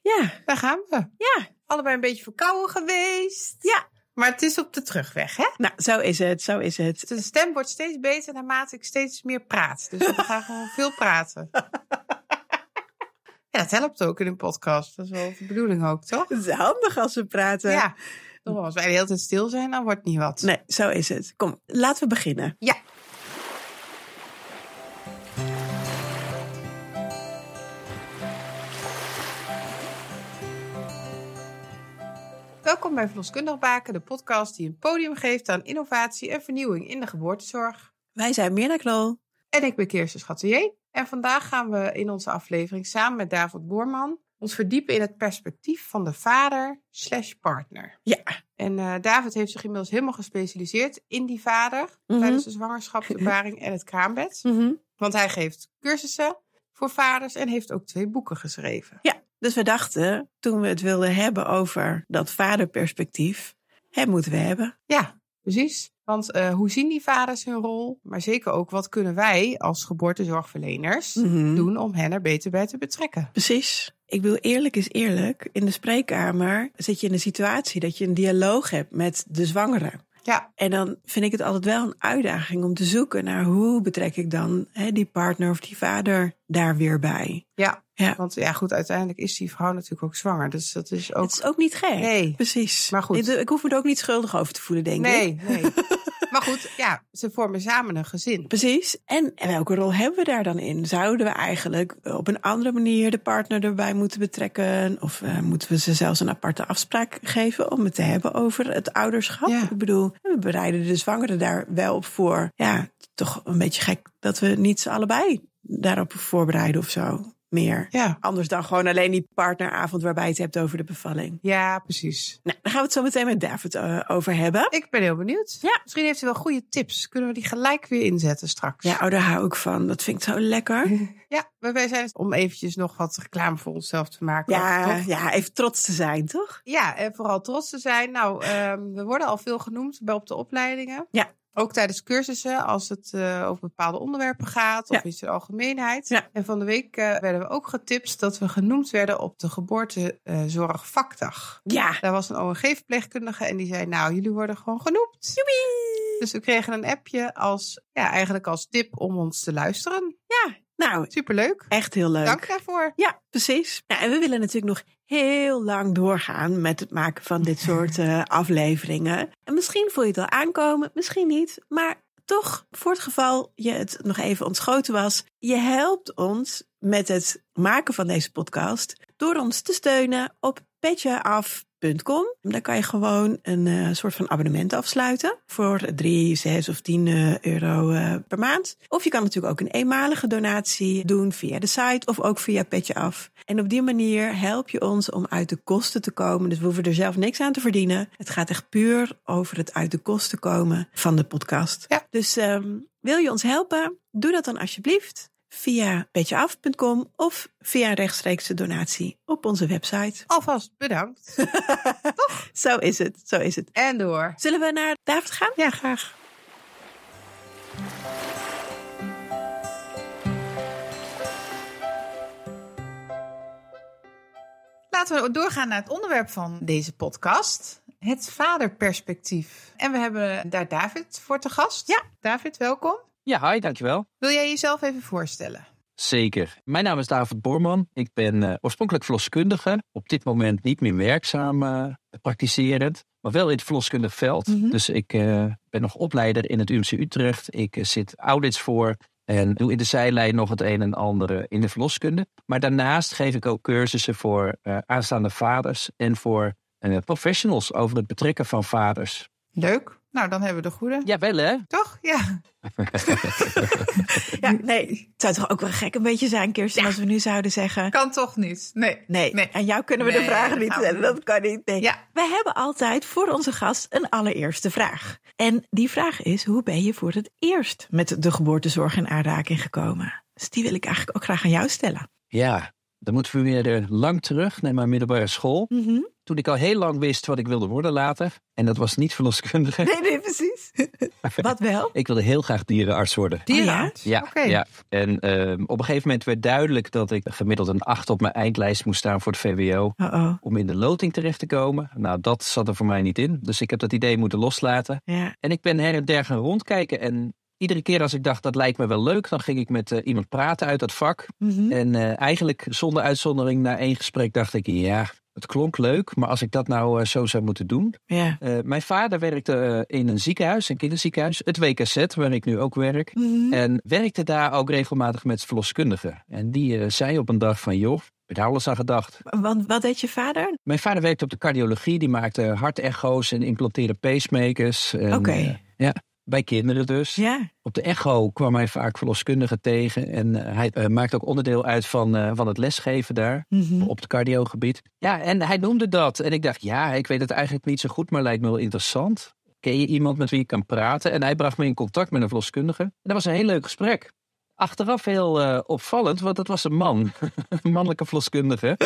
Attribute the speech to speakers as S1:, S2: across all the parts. S1: Ja,
S2: Daar gaan we.
S1: ja,
S2: Allebei een beetje verkouden geweest.
S1: ja.
S2: Maar het is op de terugweg, hè? Dus
S1: Nou, zo is het, zo is het.
S2: De stem wordt steeds beter naarmate ik steeds meer praat. Dus we gaan gewoon veel praten. Ja, dat helpt ook in een podcast. Dat is wel de bedoeling ook, toch?
S1: Het is handig als we praten.
S2: Ja. Nogmaals, als wij de hele tijd stil zijn, dan wordt niet wat.
S1: Nee, zo is het. Kom, laten we beginnen.
S2: Ja. Welkom bij Verloskundig Baken, de podcast die een podium geeft aan innovatie en vernieuwing in de geboortezorg.
S1: Wij zijn Mirna Knol.
S2: En ik ben Kirsten Schatelier. En vandaag gaan we in onze aflevering samen met David Boorman ons verdiepen in het perspectief van de vader slash partner.
S1: Ja.
S2: En eh, David heeft zich inmiddels helemaal gespecialiseerd in die vader
S1: Mhm.
S2: tijdens de zwangerschap, de baring en het kraambed.
S1: Mhm.
S2: Want hij geeft cursussen voor vaders en heeft ook twee boeken geschreven.
S1: Dus we dachten, toen we het wilden hebben over dat vaderperspectief, hè, moeten we hebben.
S2: Ja, precies. Want eh, hoe zien die vaders hun rol? Maar zeker ook wat kunnen wij als geboortezorgverleners
S1: Mhm.
S2: doen om hen er beter bij te betrekken?
S1: Precies. Ik bedoel, eerlijk is eerlijk. In de spreekkamer zit je in een situatie dat je een dialoog hebt met de zwangere.
S2: Ja,
S1: En dan vind ik het altijd wel een uitdaging om te zoeken naar hoe betrek ik dan hè, die partner of die vader daar weer bij.
S2: ja.
S1: Ja.
S2: Want ja, goed, uiteindelijk is die vrouw natuurlijk ook zwanger. Dus dat is ook.
S1: Het is ook niet gek.
S2: Nee.
S1: Precies.
S2: Maar goed.
S1: Ik, ik hoef me er ook niet schuldig over te voelen, denk ik.
S2: Nee, nee. maar goed, ja, ze vormen samen een gezin.
S1: Precies. En, en welke rol hebben we daar dan in? Zouden we eigenlijk eh, op een andere manier de partner erbij moeten betrekken? Of eh, moeten we ze zelfs een aparte afspraak geven om het te hebben over het ouderschap?
S2: Ja.
S1: Ik bedoel, we bereiden de zwangeren daar wel op voor. Ja, toch een beetje gek dat we niet ze allebei daarop voorbereiden of zo meer.
S2: Ja,
S1: Anders dan gewoon alleen die partneravond waarbij je het hebt over de bevalling.
S2: ja precies.
S1: Nou, daar gaan we het zo meteen met David eh, over hebben.
S2: Ik ben heel benieuwd.
S1: Ja.
S2: Misschien heeft u wel goede tips. Kunnen we die gelijk weer inzetten straks?
S1: Ja, oh, daar hou ik van. Dat vind ik zo lekker.
S2: Ja, maar wij zijn om eventjes nog wat reclame voor onszelf te maken.
S1: Ja,
S2: toch?
S1: ja, even trots te zijn, toch?
S2: ja, en vooral trots te zijn. Nou, ehm, we worden al veel genoemd bij op de opleidingen.
S1: Ja.
S2: Ook tijdens cursussen, als het eh, over bepaalde onderwerpen gaat of
S1: Ja.
S2: in zijn algemeenheid.
S1: Ja.
S2: En van de week eh, werden we ook getipst dat we genoemd werden op de geboortezorgvakdag.
S1: Ja.
S2: Daar was een ONG-verpleegkundige en die zei, nou, jullie worden gewoon genoemd. Dus we kregen een appje als, ja, eigenlijk als tip om ons te luisteren.
S1: Nou,
S2: Superleuk.
S1: echt heel leuk.
S2: Dank daarvoor.
S1: Ja, precies. Nou, en we willen natuurlijk nog heel lang doorgaan met het maken van dit soort eh, afleveringen. En misschien voel je het al aankomen, misschien niet. Maar toch, voor het geval je het nog even ontschoten was, je helpt ons met het maken van deze podcast door ons te steunen op petjeaf.com. Daar kan je gewoon een eh, soort van abonnement afsluiten voor 3, 6 of 10 eh, euro eh, per maand. Of je kan natuurlijk ook een eenmalige donatie doen via de site of ook via Petje Af. En op die manier help je ons om uit de kosten te komen. Dus we hoeven er zelf niks aan te verdienen. Het gaat echt puur over het uit de kosten komen van de podcast.
S2: Ja.
S1: Dus ehm, wil je ons helpen? Doe dat dan alsjeblieft via petjeaf.com of via een rechtstreekse donatie op onze website.
S2: Alvast bedankt.
S1: Zo is het, zo is het.
S2: En door.
S1: Zullen we naar David gaan?
S2: Ja, graag. Laten we doorgaan naar het onderwerp van deze podcast. Het vaderperspectief. En we hebben daar David voor te gast.
S1: Ja.
S2: David, welkom.
S3: Ja, hi, dankjewel.
S2: Wil jij jezelf even voorstellen?
S3: Zeker. Mijn naam is David Borman. Ik ben eh, oorspronkelijk verloskundige. Op dit moment niet meer werkzaam eh, praktiserend, maar wel in het verloskundig veld.
S2: Mhm.
S3: Dus ik eh, ben nog opleider in het UMC Utrecht. Ik eh, zit audits voor en doe in de zijlijn nog het een en ander eh, in de verloskunde. Maar daarnaast geef ik ook cursussen voor eh, aanstaande vaders en voor eh, professionals over het betrekken van vaders.
S2: Leuk. Nou, dan hebben we de goede.
S3: Jawel, hè?
S2: Toch? Ja.
S1: Ja, nee. Het zou toch ook wel gek een beetje zijn, Kirsten, als we nu zouden zeggen...
S2: Kan toch niet? Nee.
S1: Nee,
S2: Nee.
S1: aan jou kunnen we de
S2: Nee,
S1: vragen
S2: dat
S1: niet
S2: gaan we
S1: stellen.
S2: niet
S1: Dat kan niet. Nee.
S2: Ja.
S1: Wij hebben altijd voor onze gast een allereerste vraag. En die vraag is: hoe ben je voor het eerst met de geboortezorg in aanraking gekomen? Dus die wil ik eigenlijk ook graag aan jou stellen.
S2: Mhm.
S3: Ja, dan moeten we weer eh, lang terug naar mijn middelbare school. Toen ik al heel lang wist wat ik wilde worden later. En dat was niet verloskundige.
S1: Nee, nee, precies. Wat wel?
S3: Ik wilde heel graag dierenarts worden.
S2: Oh,
S4: Dierenarts?
S3: Ja,
S4: Oké.
S3: ja. en ehm, op een gegeven moment werd duidelijk dat ik gemiddeld een 8 op mijn eindlijst moest staan voor het VWO.
S1: Uh-oh.
S3: Om in de loting terecht te komen. Nou, dat zat er voor mij niet in. Dus ik heb dat idee moeten loslaten.
S1: Ja.
S3: En ik ben her en der gaan rondkijken. En iedere keer als ik dacht, dat lijkt me wel leuk, dan ging ik met eh, iemand praten uit dat vak.
S1: Mhm.
S3: En eh, eigenlijk zonder uitzondering na één gesprek dacht ik, ja, het klonk leuk, maar als ik dat nou eh, zo zou moeten doen.
S1: Ja.
S3: Eh, mijn vader werkte eh, in een ziekenhuis, een kinderziekenhuis, het WKZ, waar ik nu ook werk.
S1: Mhm.
S3: En werkte daar ook regelmatig met verloskundigen. En die eh, zei op een dag van, joh, heb je daar al eens aan gedacht?
S1: Want wat deed je vader?
S3: Mijn vader werkte op de cardiologie, die maakte hartecho's en implanteerde pacemakers. En,
S1: Oké.
S3: eh, ja, bij kinderen dus.
S1: Ja.
S3: Op de echo kwam hij vaak verloskundigen tegen. En eh, hij eh, maakt ook onderdeel uit van, eh, van het lesgeven daar.
S1: Mhm.
S3: Op het cardiogebied. Ja, en hij noemde dat. En ik dacht, ja, ik weet het eigenlijk niet zo goed, maar lijkt me wel interessant. Ken je iemand met wie ik kan praten? En hij bracht me in contact met een verloskundige. En dat was een heel leuk gesprek. Achteraf heel eh, opvallend, want het was een man. een mannelijke verloskundige.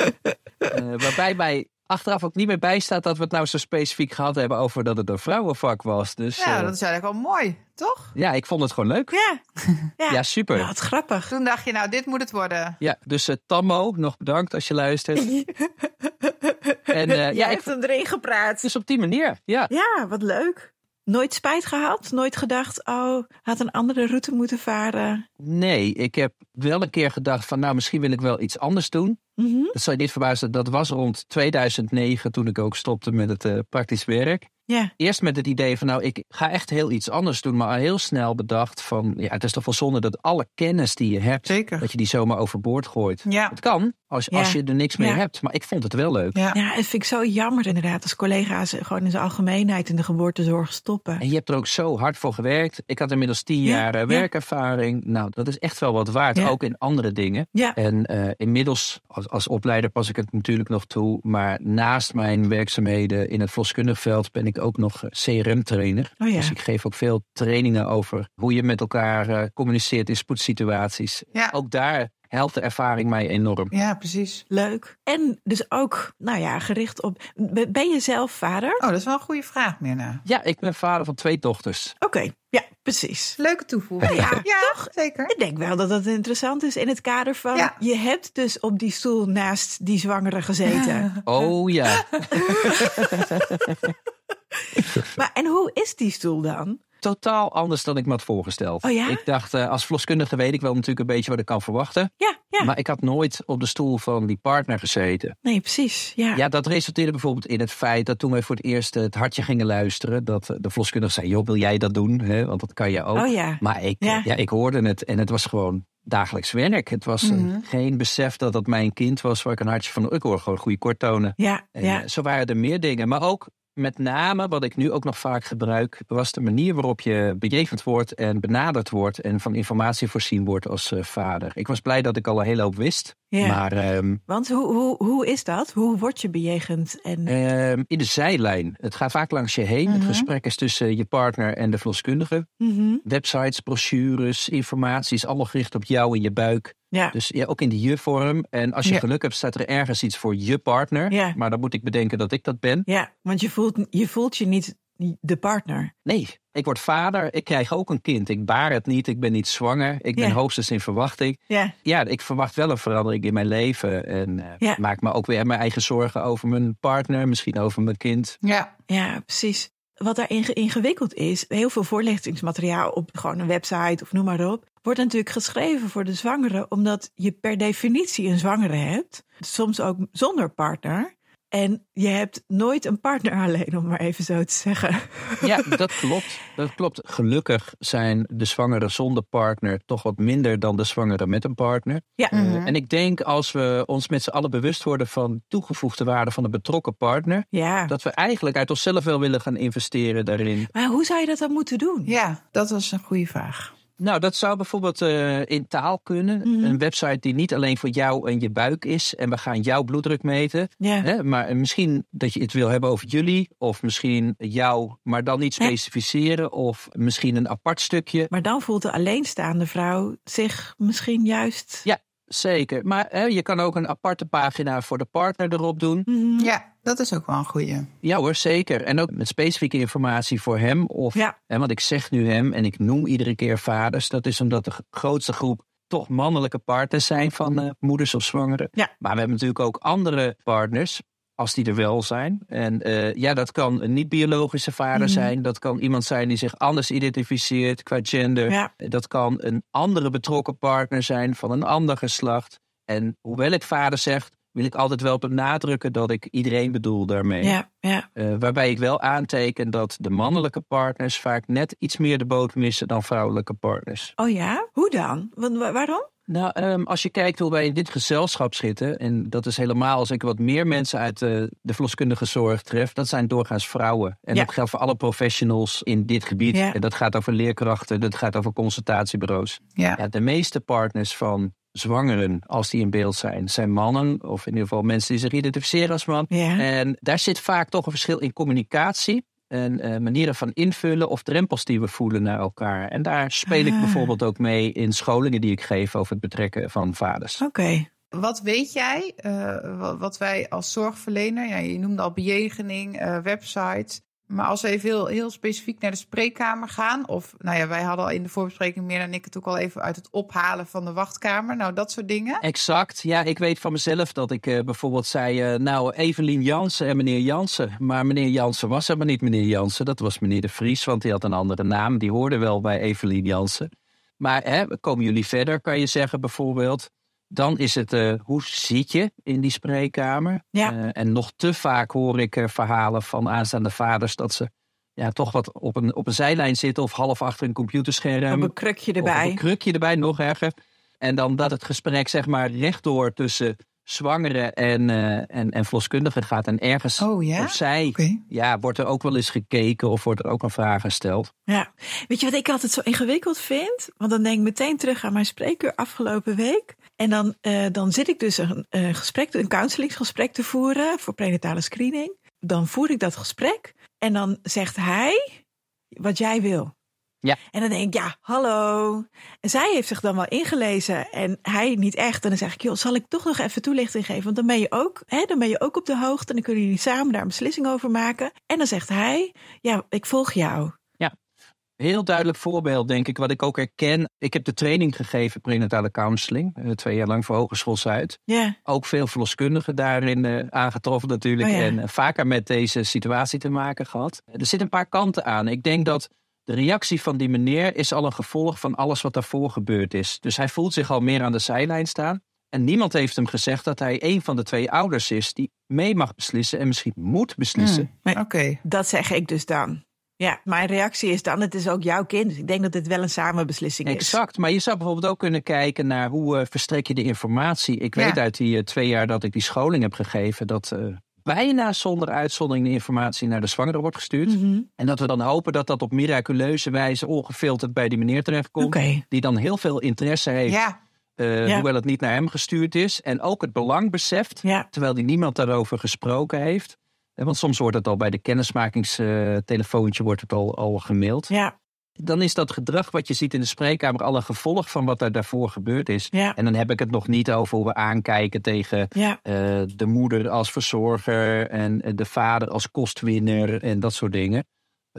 S3: Eh, waarbij mij achteraf ook niet meer bijstaat dat we het nou zo specifiek gehad hebben over dat het een vrouwenvak was. Dus
S4: Nou,
S3: eh,
S4: dat is eigenlijk wel mooi, toch?
S3: ja, ik vond het gewoon leuk.
S1: Ja. Ja.
S3: Ja, super.
S1: Nou, wat grappig.
S4: Toen dacht je, nou, dit moet het worden.
S3: Ja, dus eh, Tammo, nog bedankt als je luistert. En eh,
S1: Jij
S3: ja, ik,
S1: hebt hem erin gepraat.
S3: dus op die manier. Ja,
S1: Ja, wat leuk. Nooit spijt gehad? Nooit gedacht, oh, had een andere route moeten varen?
S3: nee, ik heb wel een keer gedacht van, nou, misschien wil ik wel iets anders doen.
S1: Mhm.
S3: Dat zal je niet verbazen, dat was rond 2009 toen ik ook stopte met het eh, praktisch werk.
S1: Ja.
S3: Eerst met het idee van, nou, ik ga echt heel iets anders doen, maar al heel snel bedacht van, ja, het is toch wel zonde dat alle kennis die je hebt,
S4: Zeker.
S3: dat je die zomaar overboord gooit.
S4: Ja.
S3: Het kan, als,
S1: Ja.
S3: als je er niks meer
S1: Ja.
S3: hebt, maar ik vond het wel leuk.
S4: Ja.
S1: Ja, dat vind ik zo jammer inderdaad. Als collega's gewoon in zijn algemeenheid in de geboortezorg stoppen.
S3: En je hebt er ook zo hard voor gewerkt. Ik had inmiddels tien
S1: Ja,
S3: jaar eh,
S1: ja.
S3: werkervaring. Nou, dat is echt wel wat waard,
S1: Ja.
S3: ook in andere dingen.
S1: Ja.
S3: En eh, inmiddels, als, als opleider pas ik het natuurlijk nog toe. Maar naast mijn werkzaamheden in het verloskundig veld ben ik ook nog eh, CRM-trainer.
S1: Oh ja.
S3: Dus ik geef ook veel trainingen over hoe je met elkaar eh, communiceert in spoedsituaties.
S4: Ja.
S3: Ook daar helpt de ervaring mij enorm.
S4: ja, precies.
S1: Leuk. En dus ook, nou ja, gericht op. Ben- Ben je zelf vader?
S4: Oh, dat is wel een goede vraag, Mirna.
S3: Ja, ik ben vader van twee dochters.
S1: Oké, ja, precies.
S4: Leuke toevoeging.
S1: Ja,
S4: toch? Zeker.
S1: Ik denk wel dat dat interessant is in het kader van.
S4: Ja.
S1: Je hebt dus op die stoel naast die zwangere gezeten.
S3: Oh ja.
S1: maar en hoe is die stoel dan?
S3: totaal anders dan ik me had voorgesteld.
S1: Oh ja?
S3: Ik dacht, eh, als verloskundige weet ik wel natuurlijk een beetje wat ik kan verwachten.
S1: Ja, ja.
S3: Maar ik had nooit op de stoel van die partner gezeten.
S1: nee, precies. Ja.
S3: Ja, dat resulteerde bijvoorbeeld in het feit dat toen wij voor het eerst eh, het hartje gingen luisteren, dat eh, de verloskundige zei: Joh, wil jij dat doen? Hè, want dat kan je ook.
S1: Oh ja.
S3: Maar ik,
S1: Ja.
S3: ja. ik hoorde het en het was gewoon dagelijks werk. Het was een-
S1: Mhm.
S3: geen besef dat dat mijn kind was waar ik een hartje van. Ik hoor gewoon goede korttonen.
S1: Ja,
S3: En
S1: ja.
S3: eh, zo waren er meer dingen. Maar ook met name, wat ik nu ook nog vaak gebruik, was de manier waarop je bejegend wordt en benaderd wordt en van informatie voorzien wordt als eh, vader. Ik was blij dat ik al een hele hoop wist.
S1: Ja.
S3: Maar ehm,
S1: Want hoe, hoe, hoe is dat? Hoe word je bejegend? En,
S3: ehm, in de zijlijn. Het gaat vaak langs je heen. Het gesprek is tussen je partner en de verloskundige.
S1: Mhm.
S3: Websites, brochures, informatie is allemaal gericht op jou en je buik.
S1: Ja.
S3: Dus ja, ook in de je-vorm. En als je
S4: Ja.
S3: geluk hebt, staat er ergens iets voor je partner.
S1: Ja.
S3: Maar dan moet ik bedenken dat ik dat ben.
S1: ja, want je voelt, je voelt je niet de partner.
S3: Nee, ik word vader, ik krijg ook een kind. Ik baar het niet, ik ben niet zwanger, ik ben
S1: Ja.
S3: hoogstens in verwachting.
S1: Ja,
S3: Ja, ik verwacht wel een verandering in mijn leven. En eh,
S1: Ja.
S3: maak me ook weer mijn eigen zorgen over mijn partner, misschien over mijn kind.
S4: Ja.
S1: ja precies. Wat daar inge- ingewikkeld is, heel veel voorlichtingsmateriaal op gewoon een website of noem maar op, wordt natuurlijk geschreven voor de zwangere, omdat je per definitie een zwangere hebt, soms ook zonder partner. En je hebt nooit een partner alleen, om maar even zo te zeggen.
S3: Ja, dat klopt. Dat klopt. Gelukkig zijn de zwangeren zonder partner toch wat minder dan de zwangeren met een partner. Eh,
S1: Ja,
S3: En ik denk als we ons met z'n allen bewust worden van de toegevoegde waarde van een betrokken partner,
S1: ja.
S3: dat we eigenlijk uit onszelf wel willen gaan investeren daarin.
S1: Maar hoe zou je dat dan moeten doen?
S4: ja, dat was een goede vraag.
S3: Nou, dat zou bijvoorbeeld eh, in taal kunnen. Een website die niet alleen voor jou en je buik is. En we gaan jouw bloeddruk meten.
S1: Ja.
S3: Hè? Maar misschien dat je het wil hebben over jullie. Of misschien jou, maar dan niet specificeren. Of misschien een apart stukje.
S1: Maar dan voelt de alleenstaande vrouw zich misschien juist
S3: Ja, Zeker. Maar hè, je kan ook een aparte pagina voor de partner erop doen.
S1: Mhm.
S2: Ja, dat is ook wel een goede.
S3: Ja hoor, zeker. En ook met specifieke informatie voor hem. Of,
S1: Ja.
S3: hè, want ik zeg nu hem en ik noem iedere keer vaders. Dat is omdat de g- grootste groep toch mannelijke partners zijn van eh, moeders of zwangeren.
S1: Ja.
S3: Maar we hebben natuurlijk ook andere partners, als die er wel zijn. En eh, ja, dat kan een niet-biologische vader
S1: Mhm.
S3: zijn. Dat kan iemand zijn die zich anders identificeert qua gender.
S1: Ja.
S3: Dat kan een andere betrokken partner zijn van een ander geslacht. En hoewel ik vader zeg, wil ik altijd wel benadrukken dat ik iedereen bedoel daarmee.
S1: Ja, ja,
S3: Eh, waarbij ik wel aanteken dat de mannelijke partners vaak net iets meer de boot missen dan vrouwelijke partners.
S1: oh ja. Hoe dan? Want wa- waarom?
S3: Nou, ehm, als je kijkt hoe wij in dit gezelschap zitten, en dat is helemaal als ik wat meer mensen uit eh, de verloskundige zorg tref, dat zijn doorgaans vrouwen. En
S1: Ja.
S3: dat geldt voor alle professionals in dit gebied.
S1: Ja.
S3: En dat gaat over leerkrachten, dat gaat over consultatiebureaus.
S2: Ja.
S3: Ja, de meeste partners van zwangeren, als die in beeld zijn, zijn mannen, of in ieder geval mensen die zich identificeren als man.
S1: Ja.
S3: En daar zit vaak toch een verschil in communicatie en eh, manieren van invullen of drempels die we voelen naar elkaar. En daar speel ik
S1: Ah.
S3: bijvoorbeeld ook mee in scholingen die ik geef over het betrekken van vaders.
S1: Oké.
S2: Wat weet jij, eh, wa- wat wij als zorgverlener, ja, je noemde al bejegening, eh websites. Maar als we even heel, heel specifiek naar de spreekkamer gaan, of nou ja, wij hadden al in de voorbespreking meer dan ik het ook al even uit het ophalen van de wachtkamer. Nou, dat soort dingen.
S3: Exact. Ja, ik weet van mezelf dat ik eh, bijvoorbeeld zei, eh, nou Evelien Jansen en meneer Jansen. Maar meneer Jansen was helemaal niet meneer Jansen, dat was meneer de Vries, want die had een andere naam. Die hoorde wel bij Evelien Jansen. Maar hè, komen jullie verder, kan je zeggen bijvoorbeeld. Dan is het, eh, hoe zit je in die spreekkamer?
S1: Ja.
S3: Eh, en nog te vaak hoor ik eh, verhalen van aanstaande vaders dat ze ja, toch wat op een, op een zijlijn zitten of half achter een computerscherm.
S1: Op een krukje
S3: Of een
S1: erbij.
S3: krukje erbij, nog erger. En dan dat het gesprek zeg maar rechtdoor tussen zwangeren en, eh en, en verloskundigen gaat. En ergens
S2: Oh ja?
S3: op zij
S2: Oké.
S3: ja, wordt er ook wel eens gekeken of wordt er ook een vraag gesteld.
S1: Ja. Weet je wat ik altijd zo ingewikkeld vind? Want dan denk ik meteen terug aan mijn spreekuur afgelopen week. En dan, eh, dan zit ik dus een, eh, gesprek, een counselingsgesprek te voeren voor prenatale screening. Dan voer ik dat gesprek en dan zegt hij wat jij wil.
S3: Ja.
S1: En dan denk ik, ja, hallo. En zij heeft zich dan wel ingelezen en hij niet echt. En dan zeg ik, joh, zal ik toch nog even toelichting geven? Want dan ben je ook, hè, dan ben je ook op de hoogte en dan kunnen jullie samen daar een beslissing over maken. En dan zegt hij, ja, ik volg jou.
S3: Heel duidelijk voorbeeld, denk ik, wat ik ook herken. Ik heb de training gegeven, prenatale counseling, eh, twee jaar lang voor Hogeschool Zuid.
S1: Ja,
S3: Ook veel verloskundigen daarin eh, aangetroffen natuurlijk.
S1: Oh ja.
S3: En eh, vaker met deze situatie te maken gehad. Er zitten een paar kanten aan. Ik denk dat de reactie van die meneer is al een gevolg van alles wat daarvoor gebeurd is. Dus hij voelt zich al meer aan de zijlijn staan. En niemand heeft hem gezegd dat hij een van de twee ouders is die mee mag beslissen en misschien moet beslissen.
S2: Hmm, Oké.
S1: dat zeg ik dus dan. Ja, mijn reactie is dan, het is ook jouw kind. Dus ik denk dat dit wel een samenbeslissing is.
S3: Exact, maar je zou bijvoorbeeld ook kunnen kijken naar hoe eh, verstrek je de informatie. Ik
S2: Ja.
S3: weet uit die eh, twee jaar dat ik die scholing heb gegeven dat eh, bijna zonder uitzondering de informatie naar de zwangere wordt gestuurd.
S1: Mhm.
S3: En dat we dan hopen dat dat op miraculeuze wijze ongefilterd bij die meneer terechtkomt.
S1: Oké.
S3: Die dan heel veel interesse heeft,
S2: Ja,
S3: eh,
S1: Ja.
S3: hoewel het niet naar hem gestuurd is. En ook het belang beseft,
S1: Ja.
S3: terwijl die niemand daarover gesproken heeft. Eh, Want soms wordt het al bij de kennismakingstelefoontje wordt het al, al gemaild.
S1: Ja,
S3: Dan is dat gedrag wat je ziet in de spreekkamer al een gevolg van wat er daarvoor gebeurd is.
S1: ja,
S3: En dan heb ik het nog niet over hoe we aankijken tegen
S1: ja.
S3: eh, de moeder als verzorger en eh, de vader als kostwinner en dat soort dingen.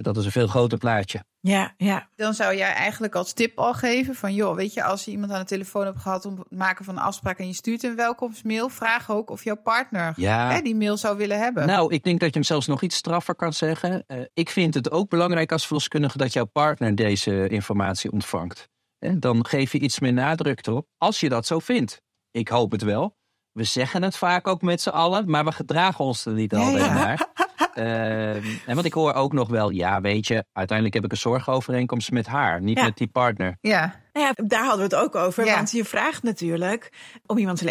S3: Dat is een veel groter plaatje.
S1: Ja, ja,
S2: dan zou jij eigenlijk als tip al geven van, joh, weet je, als je iemand aan de telefoon hebt gehad om het maken van een afspraak en je stuurt een welkomstmail, vraag ook of jouw partner
S3: Ja.
S2: hè, die mail zou willen hebben.
S3: Nou, ik denk dat je hem zelfs nog iets straffer kan zeggen. Eh, ik vind het ook belangrijk als verloskundige dat jouw partner deze informatie ontvangt. En dan geef je iets meer nadruk erop, als je dat zo vindt. Ik hoop het wel. We zeggen het vaak ook met z'n allen, maar we gedragen ons er niet
S2: Ja,
S3: altijd
S2: ja.
S3: naar. Ehm, en want ik hoor ook nog wel, ja weet je, uiteindelijk heb ik een zorgovereenkomst met haar, niet
S1: Ja.
S3: met die partner.
S2: ja.
S1: Nou ja, daar hadden we het ook over.
S2: Ja.
S1: Want je vraagt natuurlijk om iemands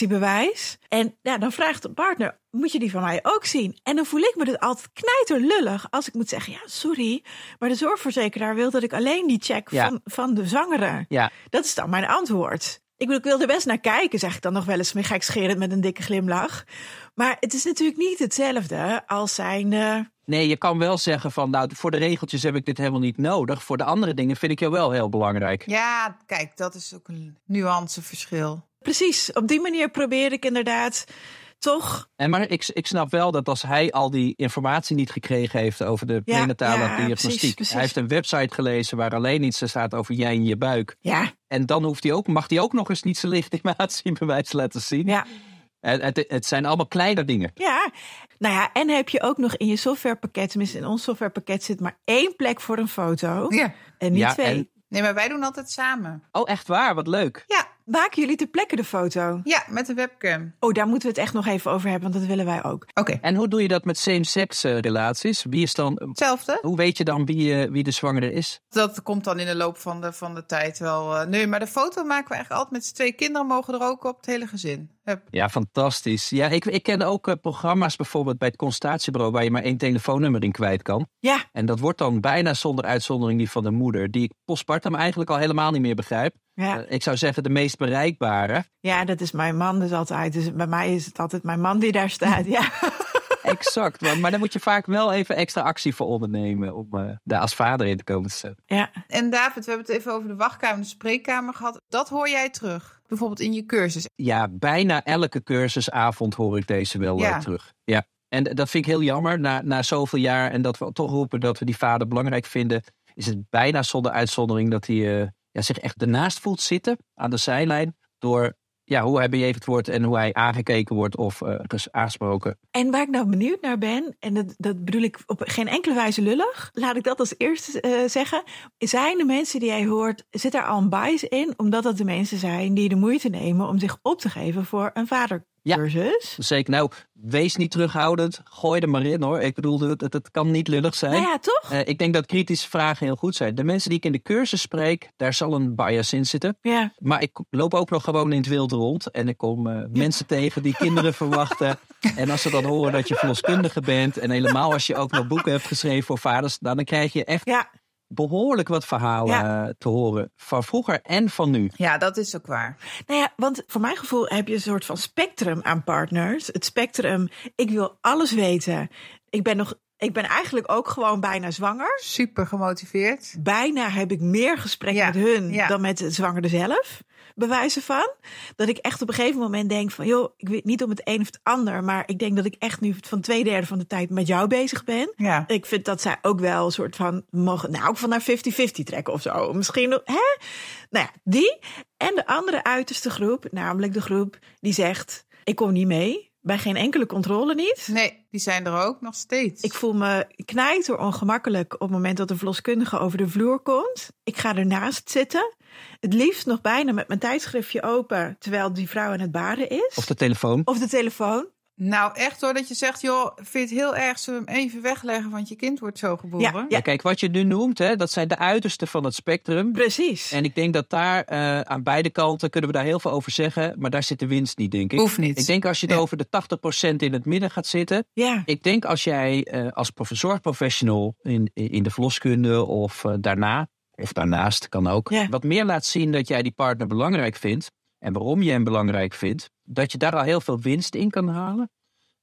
S1: legitimatiebewijs. En ja, dan vraagt de partner, moet je die van mij ook zien? En dan voel ik me dus altijd knijterlullig als ik moet zeggen... ja, sorry, maar de zorgverzekeraar wil dat ik alleen die check
S3: Ja.
S1: van, van de zwangere.
S3: Ja.
S1: Dat is dan mijn antwoord. Ik bedoel, ik wil er best naar kijken, zeg ik dan nog wel eens meer gekscherend met een dikke glimlach. Maar het is natuurlijk niet hetzelfde als zijn... eh,
S3: Nee, je kan wel zeggen van, nou voor de regeltjes heb ik dit helemaal niet nodig. Voor de andere dingen vind ik jou wel heel belangrijk.
S2: ja, kijk, dat is ook een nuanceverschil.
S1: Precies, op die manier probeer ik inderdaad toch.
S3: En maar ik, ik snap wel dat als hij al die informatie niet gekregen heeft over de
S1: Ja,
S3: prenatale
S1: ja,
S3: diagnostiek.
S1: precies, precies.
S3: Hij heeft een website gelezen waar alleen iets staat over jij en je buik.
S1: Ja,
S3: En dan hoeft hij ook, mag hij ook nog eens niet zijn legitimatiebewijs laten zien.
S1: ja.
S3: En Het, het zijn allemaal kleine dingen.
S1: Ja, nou ja, en heb je ook nog in je softwarepakket, tenminste in ons softwarepakket zit maar één plek voor een foto
S2: Oh, Ja.
S1: en niet
S3: Ja,
S1: twee.
S3: en-
S2: Nee, maar wij doen altijd samen.
S3: Oh, echt waar? Wat leuk.
S2: Ja,
S1: Maken jullie ter plekke de foto?
S2: ja met de webcam.
S1: Oh, daar moeten we het echt nog even over hebben, want dat willen wij ook.
S2: Oké,
S3: En hoe doe je dat met same-sex eh, relaties? Wie is dan,
S2: hetzelfde.
S3: hoe weet je dan wie, eh, wie de zwangere is?
S2: Dat komt dan in de loop van de, van de tijd wel. eh, nee, maar de foto maken we eigenlijk altijd met z'n twee kinderen. Mogen er ook op het hele gezin. Hup.
S3: Ja, fantastisch. Ja, ik, ik ken ook eh, programma's bijvoorbeeld bij het consultatiebureau waar je maar één telefoonnummer in kwijt kan.
S1: Ja,
S3: En dat wordt dan bijna zonder uitzondering die van de moeder, die ik postpartum eigenlijk al helemaal niet meer begrijp.
S1: ja,
S3: Eh, Ik zou zeggen de meest bereikbare.
S1: ja, dat is mijn man dus altijd. Dus bij mij is het altijd mijn man die daar staat. Ja,
S3: Exact. Maar, maar daar moet je vaak wel even extra actie voor ondernemen om eh, daar als vader in te komen te zetten.
S1: ja.
S2: En David, we hebben het even over de wachtkamer, de spreekkamer gehad. Dat hoor jij terug. Bijvoorbeeld in je cursus.
S3: Ja, bijna elke cursusavond hoor ik deze wel eh,
S2: Ja.
S3: terug. Ja. En dat vind ik heel jammer. Na, na zoveel jaar en dat we toch roepen dat we die vader belangrijk vinden, is het bijna zonder uitzondering dat hij eh, ja, zich echt ernaast voelt zitten aan de zijlijn. Door ja, hoe hij bejegend wordt en hoe hij aangekeken wordt of eh, ges- aangesproken.
S1: En waar ik nou benieuwd naar ben, en dat, dat bedoel ik op geen enkele wijze lullig, laat ik dat als eerste eh, zeggen. Zijn de mensen die jij hoort, zit daar al een bias in? Omdat dat de mensen zijn die de moeite nemen om zich op te geven voor een vadercursus.
S3: Zeker, nou, wees niet terughoudend. Gooi er maar in hoor. Ik bedoel, het, het kan niet lullig zijn.
S1: Nou ja, toch?
S3: Eh, ik denk dat kritische vragen heel goed zijn. De mensen die ik in de cursus spreek, daar zal een bias in zitten.
S1: Ja,
S3: Maar ik loop ook nog gewoon in het wild rond. En ik kom eh, mensen tegen die kinderen verwachten. En als ze dan horen dat je verloskundige bent. En helemaal als je ook nog boeken hebt geschreven voor vaders. nou, Dan krijg je echt
S1: ja,
S3: behoorlijk wat verhalen eh, te horen. Van vroeger en van nu.
S2: Ja, dat is ook waar.
S1: Nou ja, want voor mijn gevoel heb je een soort van spectrum aan partners. Het spectrum, ik wil alles weten. Ik ben, nog, ik ben eigenlijk ook gewoon bijna zwanger.
S2: Super gemotiveerd.
S1: Bijna heb ik meer gesprek
S2: Ja,
S1: met hun
S2: ja.
S1: dan met de zwangere zelf. Bewijzen van. Dat ik echt op een gegeven moment denk van... joh, ik weet niet om het een of het ander... maar ik denk dat ik echt nu van twee derde van de tijd met jou bezig ben.
S2: Ja.
S1: Ik vind dat zij ook wel een soort van mogen. Nou, ook van naar 50-50 trekken of zo. Misschien. Hè? Nou ja, die. En de andere uiterste groep, namelijk de groep die zegt: Ik kom niet mee. Bij geen enkele controle niet.
S2: Nee, die zijn er ook nog steeds.
S1: Ik voel me knijter ongemakkelijk op het moment dat een verloskundige over de vloer komt. Ik ga ernaast zitten. Het liefst nog bijna met mijn tijdschriftje open terwijl die vrouw aan het baren is.
S3: Of de telefoon.
S1: Of de telefoon.
S2: Nou, echt hoor, dat je zegt, joh, vind je het heel erg, zullen we hem even wegleggen, want je kind wordt zo geboren.
S1: Ja,
S3: Ja, kijk, wat je nu noemt, hè, dat zijn de uitersten van het spectrum.
S1: Precies.
S3: En ik denk dat daar eh, aan beide kanten kunnen we daar heel veel over zeggen. Maar daar zit de winst niet, denk ik.
S2: Hoeft niet.
S3: Ik denk als je het
S2: Ja.
S3: over de 80% in het midden gaat zitten.
S1: Ja.
S3: Ik denk als jij eh, als prof- zorgprofessional in, in de verloskunde of eh, daarna, of daarnaast kan ook,
S1: Ja.
S3: wat meer laat zien dat jij die partner belangrijk vindt en waarom je hem belangrijk vindt, dat je daar al heel veel winst in kan halen.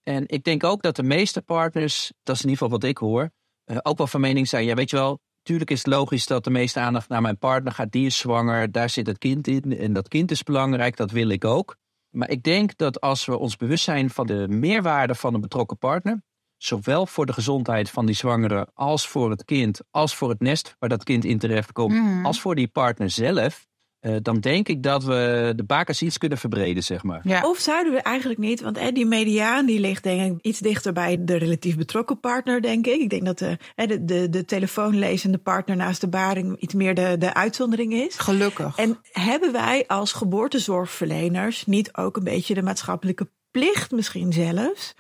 S3: En ik denk ook dat de meeste partners, dat is in ieder geval wat ik hoor, eh, ook wel van mening zijn, ja weet je wel, tuurlijk is het logisch dat de meeste aandacht naar mijn partner gaat, die is zwanger, daar zit het kind in en dat kind is belangrijk, dat wil ik ook. Maar ik denk dat als we ons bewust zijn van de meerwaarde van een betrokken partner, zowel voor de gezondheid van die zwangere als voor het kind, als voor het nest waar dat kind in terecht komt,
S2: Mhm.
S3: als voor die partner zelf, eh, dan denk ik dat we de bakens iets kunnen verbreden, zeg maar.
S2: Ja.
S1: Of zouden we eigenlijk niet, want hè, die mediaan die ligt denk ik iets dichter bij de relatief betrokken partner, denk ik. Ik denk dat de, hè, de, de, de telefoonlezende partner naast de baring iets meer de, de uitzondering is.
S2: Gelukkig.
S1: En hebben wij als geboortezorgverleners niet ook een beetje de maatschappelijke plicht misschien zelfs...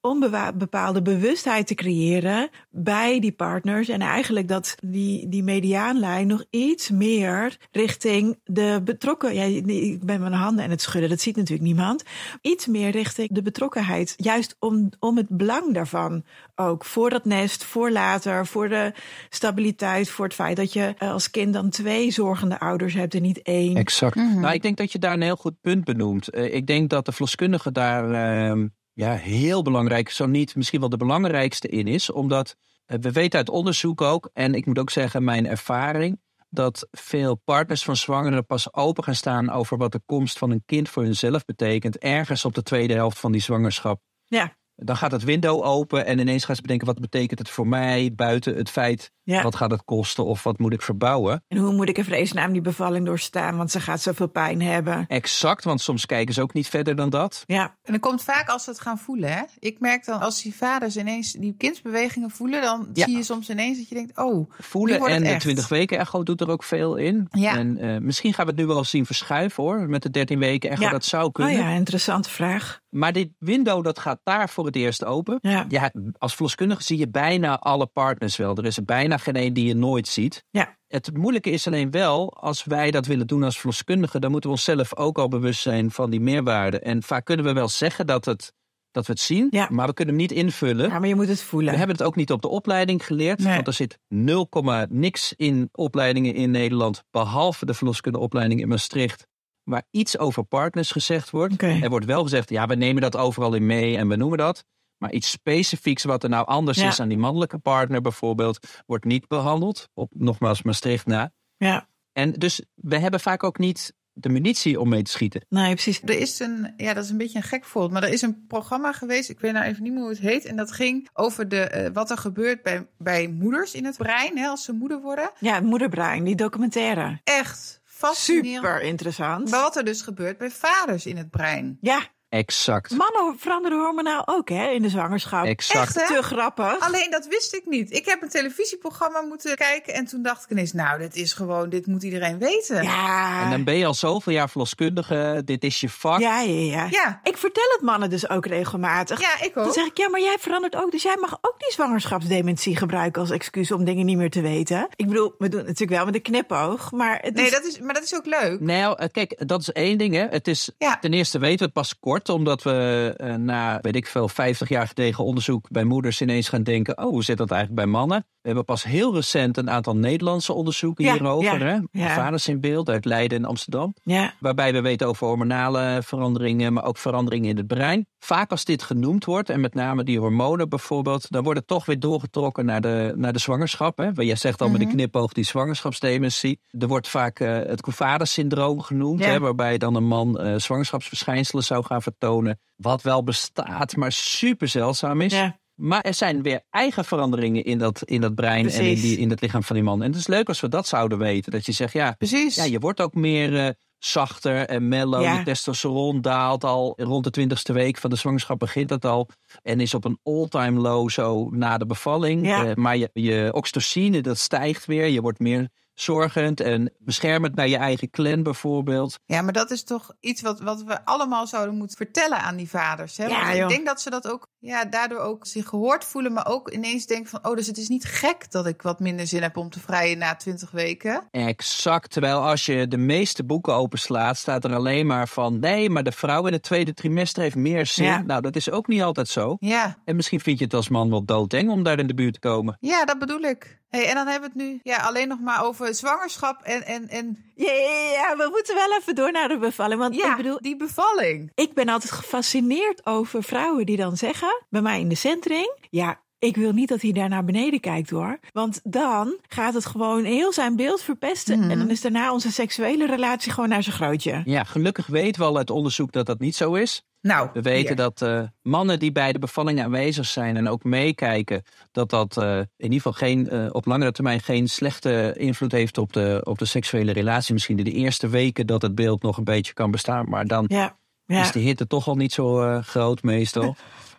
S1: om bewa- bepaalde bewustheid te creëren bij die partners... en eigenlijk dat die, die mediaanlijn nog iets meer richting de betrokken... Ja, nee, ik ben mijn handen aan het schudden, dat ziet natuurlijk niemand. Iets meer richting de betrokkenheid. Juist om, om het belang daarvan ook. Voor dat nest, voor later, voor de stabiliteit... voor het feit dat je eh, als kind dan twee zorgende ouders hebt en niet één.
S3: Exact. Nou, ik denk dat je daar een heel goed punt benoemt. Eh, ik denk dat de verloskundige daar ehm, ja, heel belangrijk, zo niet misschien wel de belangrijkste in is. Omdat eh, we weten uit onderzoek ook, en ik moet ook zeggen mijn ervaring, dat veel partners van zwangeren pas open gaan staan over wat de komst van een kind voor hunzelf betekent, ergens op de tweede helft van die zwangerschap.
S1: Ja.
S3: Dan gaat het window open en ineens gaan ze bedenken wat betekent het voor mij buiten het feit
S1: Ja.
S3: wat gaat het kosten of wat moet ik verbouwen.
S1: En hoe moet ik in vredesnaam die bevalling doorstaan? Want ze gaat zoveel pijn hebben.
S3: Exact, want soms kijken ze ook niet verder dan dat.
S1: Ja,
S2: En dat komt vaak als ze het gaan voelen. Hè? Ik merk dan als die vaders ineens die kindsbewegingen voelen, dan
S3: Ja.
S2: zie je soms ineens dat je denkt, oh, Nu
S3: Voelen
S2: wordt het
S3: en de
S2: echt.
S3: 20 weken echo doet er ook veel in.
S2: Ja.
S3: En eh, misschien gaan we het nu wel zien verschuiven hoor, met de 13 weken echo,
S1: Ja.
S3: dat zou
S1: oh
S3: kunnen.
S1: ja, interessante vraag.
S3: Maar dit window dat gaat daar voor het eerst open.
S1: Ja.
S3: Ja, als verloskundige zie je bijna alle partners wel. Er is er bijna geen één die je nooit ziet.
S1: Ja.
S3: Het moeilijke is alleen wel, als wij dat willen doen als verloskundigen, dan moeten we onszelf ook al bewust zijn van die meerwaarde. En vaak kunnen we wel zeggen dat, het, dat we het zien,
S1: Ja.
S3: maar we kunnen hem niet invullen.
S1: ja, maar je moet het voelen.
S3: We hebben het ook niet op de opleiding geleerd,
S2: Nee.
S3: want er zit 0, niks in opleidingen in Nederland, behalve de verloskundeopleiding in Maastricht, waar iets over partners gezegd wordt.
S1: Oké.
S3: Er wordt wel gezegd, ja, we nemen dat overal in mee en we noemen dat. Maar iets specifieks wat er nou anders
S1: Ja.
S3: is aan die mannelijke partner bijvoorbeeld, wordt niet behandeld. Op nogmaals Maastricht na.
S1: Ja,
S3: En dus we hebben vaak ook niet de munitie om mee te schieten.
S1: nee, precies.
S2: Er is een, ja, dat is een beetje een gek voorbeeld, maar er is een programma geweest, ik weet nou even niet meer hoe het heet, en dat ging over de, eh, wat er gebeurt bij, bij moeders in het brein, hè, als ze moeder worden.
S1: Ja, het moederbrein, die documentaire.
S2: Echt fascinerend.
S1: Super interessant.
S2: Maar wat er dus gebeurt bij vaders in het brein.
S1: Ja,
S3: Exact.
S1: mannen veranderen hormonaal ook hè, in de zwangerschap.
S3: exact.
S2: Echt, hè?
S1: Te grappig.
S2: Alleen dat wist ik niet. Ik heb een televisieprogramma moeten kijken en toen dacht ik ineens, nou, dit is gewoon, dit moet iedereen weten.
S1: Ja.
S3: En dan ben je al zoveel jaar verloskundige. Dit is je vak.
S1: ja, ja, ja,
S2: Ja.
S1: Ik vertel het mannen dus ook regelmatig.
S2: Ja, ik
S1: Dan
S2: ook.
S1: zeg ik, ja, maar jij verandert ook. Dus jij mag ook die zwangerschapsdementie gebruiken als excuus om dingen niet meer te weten. Ik bedoel, we doen het natuurlijk wel met een knipoog. Maar het
S2: Nee,
S1: is
S2: dat is, maar dat is ook leuk.
S3: Nou, eh, kijk, dat is één ding. Hè. Het is,
S2: Ja.
S3: Ten eerste weten we het pas kort, omdat we eh, na, weet ik veel, 50 jaar gedegen onderzoek bij moeders ineens gaan denken: oh, hoe zit dat eigenlijk bij mannen? We hebben pas heel recent een aantal Nederlandse onderzoeken
S1: Ja,
S3: hierover.
S1: ja,
S3: hè?
S1: ja.
S3: Vaders in beeld uit Leiden en Amsterdam.
S1: ja,
S3: Waarbij we weten over hormonale veranderingen, maar ook veranderingen in het brein. Vaak als dit genoemd wordt, en met name die hormonen bijvoorbeeld, dan wordt het toch weer doorgetrokken naar de, naar de zwangerschap. Hè? Jij zegt al met
S2: Mhm.
S3: die knipoog die zwangerschapsdementie. Er wordt vaak eh, het Covares-syndroom genoemd,
S1: Ja.
S3: hè, waarbij dan een man eh, zwangerschapsverschijnselen zou gaan vertonen. Wat wel bestaat, maar super zeldzaam is.
S1: ja.
S3: Maar er zijn weer eigen veranderingen in dat, in dat brein en in,
S1: Precies.
S3: die, in het lichaam van die man. En het is leuk als we dat zouden weten. Dat je zegt, ja,
S2: Precies.
S3: ja, je wordt ook meer eh, zachter en mellow.
S1: Ja.
S3: Je testosteron daalt al. Rond de twintigste week van de zwangerschap begint dat al. En is op een all-time low zo na de bevalling.
S1: Ja.
S3: Eh, maar je, je oxytocine, dat stijgt weer. Je wordt meer zorgend en beschermend naar je eigen clan bijvoorbeeld.
S2: Ja, maar dat is toch iets wat, wat we allemaal zouden moeten vertellen aan die vaders. Hè?
S1: Ja,
S2: Want ik
S1: joh.
S2: denk dat ze dat ook ja, daardoor ook zich gehoord voelen, maar ook ineens denken van, oh, dus het is niet gek dat ik wat minder zin heb om te vrijen na twintig weken.
S3: Exact. Terwijl als je de meeste boeken openslaat, staat er alleen maar van... nee, maar de vrouw in het tweede trimester heeft meer zin.
S1: Ja.
S3: Nou, dat is ook niet altijd zo.
S2: Ja,
S3: En misschien vind je het als man wel doodeng om daar in de buurt te komen.
S2: ja dat bedoel ik. Hey, en dan hebben we het nu ja, alleen nog maar over zwangerschap en, en, en
S1: Ja, ja, ja, we moeten wel even door naar de bevalling. Want
S2: ja,
S1: ik bedoel,
S2: die bevalling.
S1: ik ben altijd gefascineerd over vrouwen die dan zeggen, bij mij in de centering, ja, ik wil niet dat hij daar naar beneden kijkt hoor. Want dan gaat het gewoon heel zijn beeld verpesten. En dan is daarna onze seksuele relatie gewoon naar zijn grootje.
S3: Ja, gelukkig weten we al uit onderzoek dat dat niet zo is.
S2: Nou,
S3: We weten
S2: hier.
S3: dat eh, mannen die bij de bevalling aanwezig zijn en ook meekijken, dat dat eh, in ieder geval geen, eh, op langere termijn geen slechte invloed heeft op de, op de seksuele relatie. Misschien in de eerste weken dat het beeld nog een beetje kan bestaan, maar dan
S1: Ja, ja.
S3: is de hitte toch al niet zo eh, groot meestal.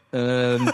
S3: Ehm,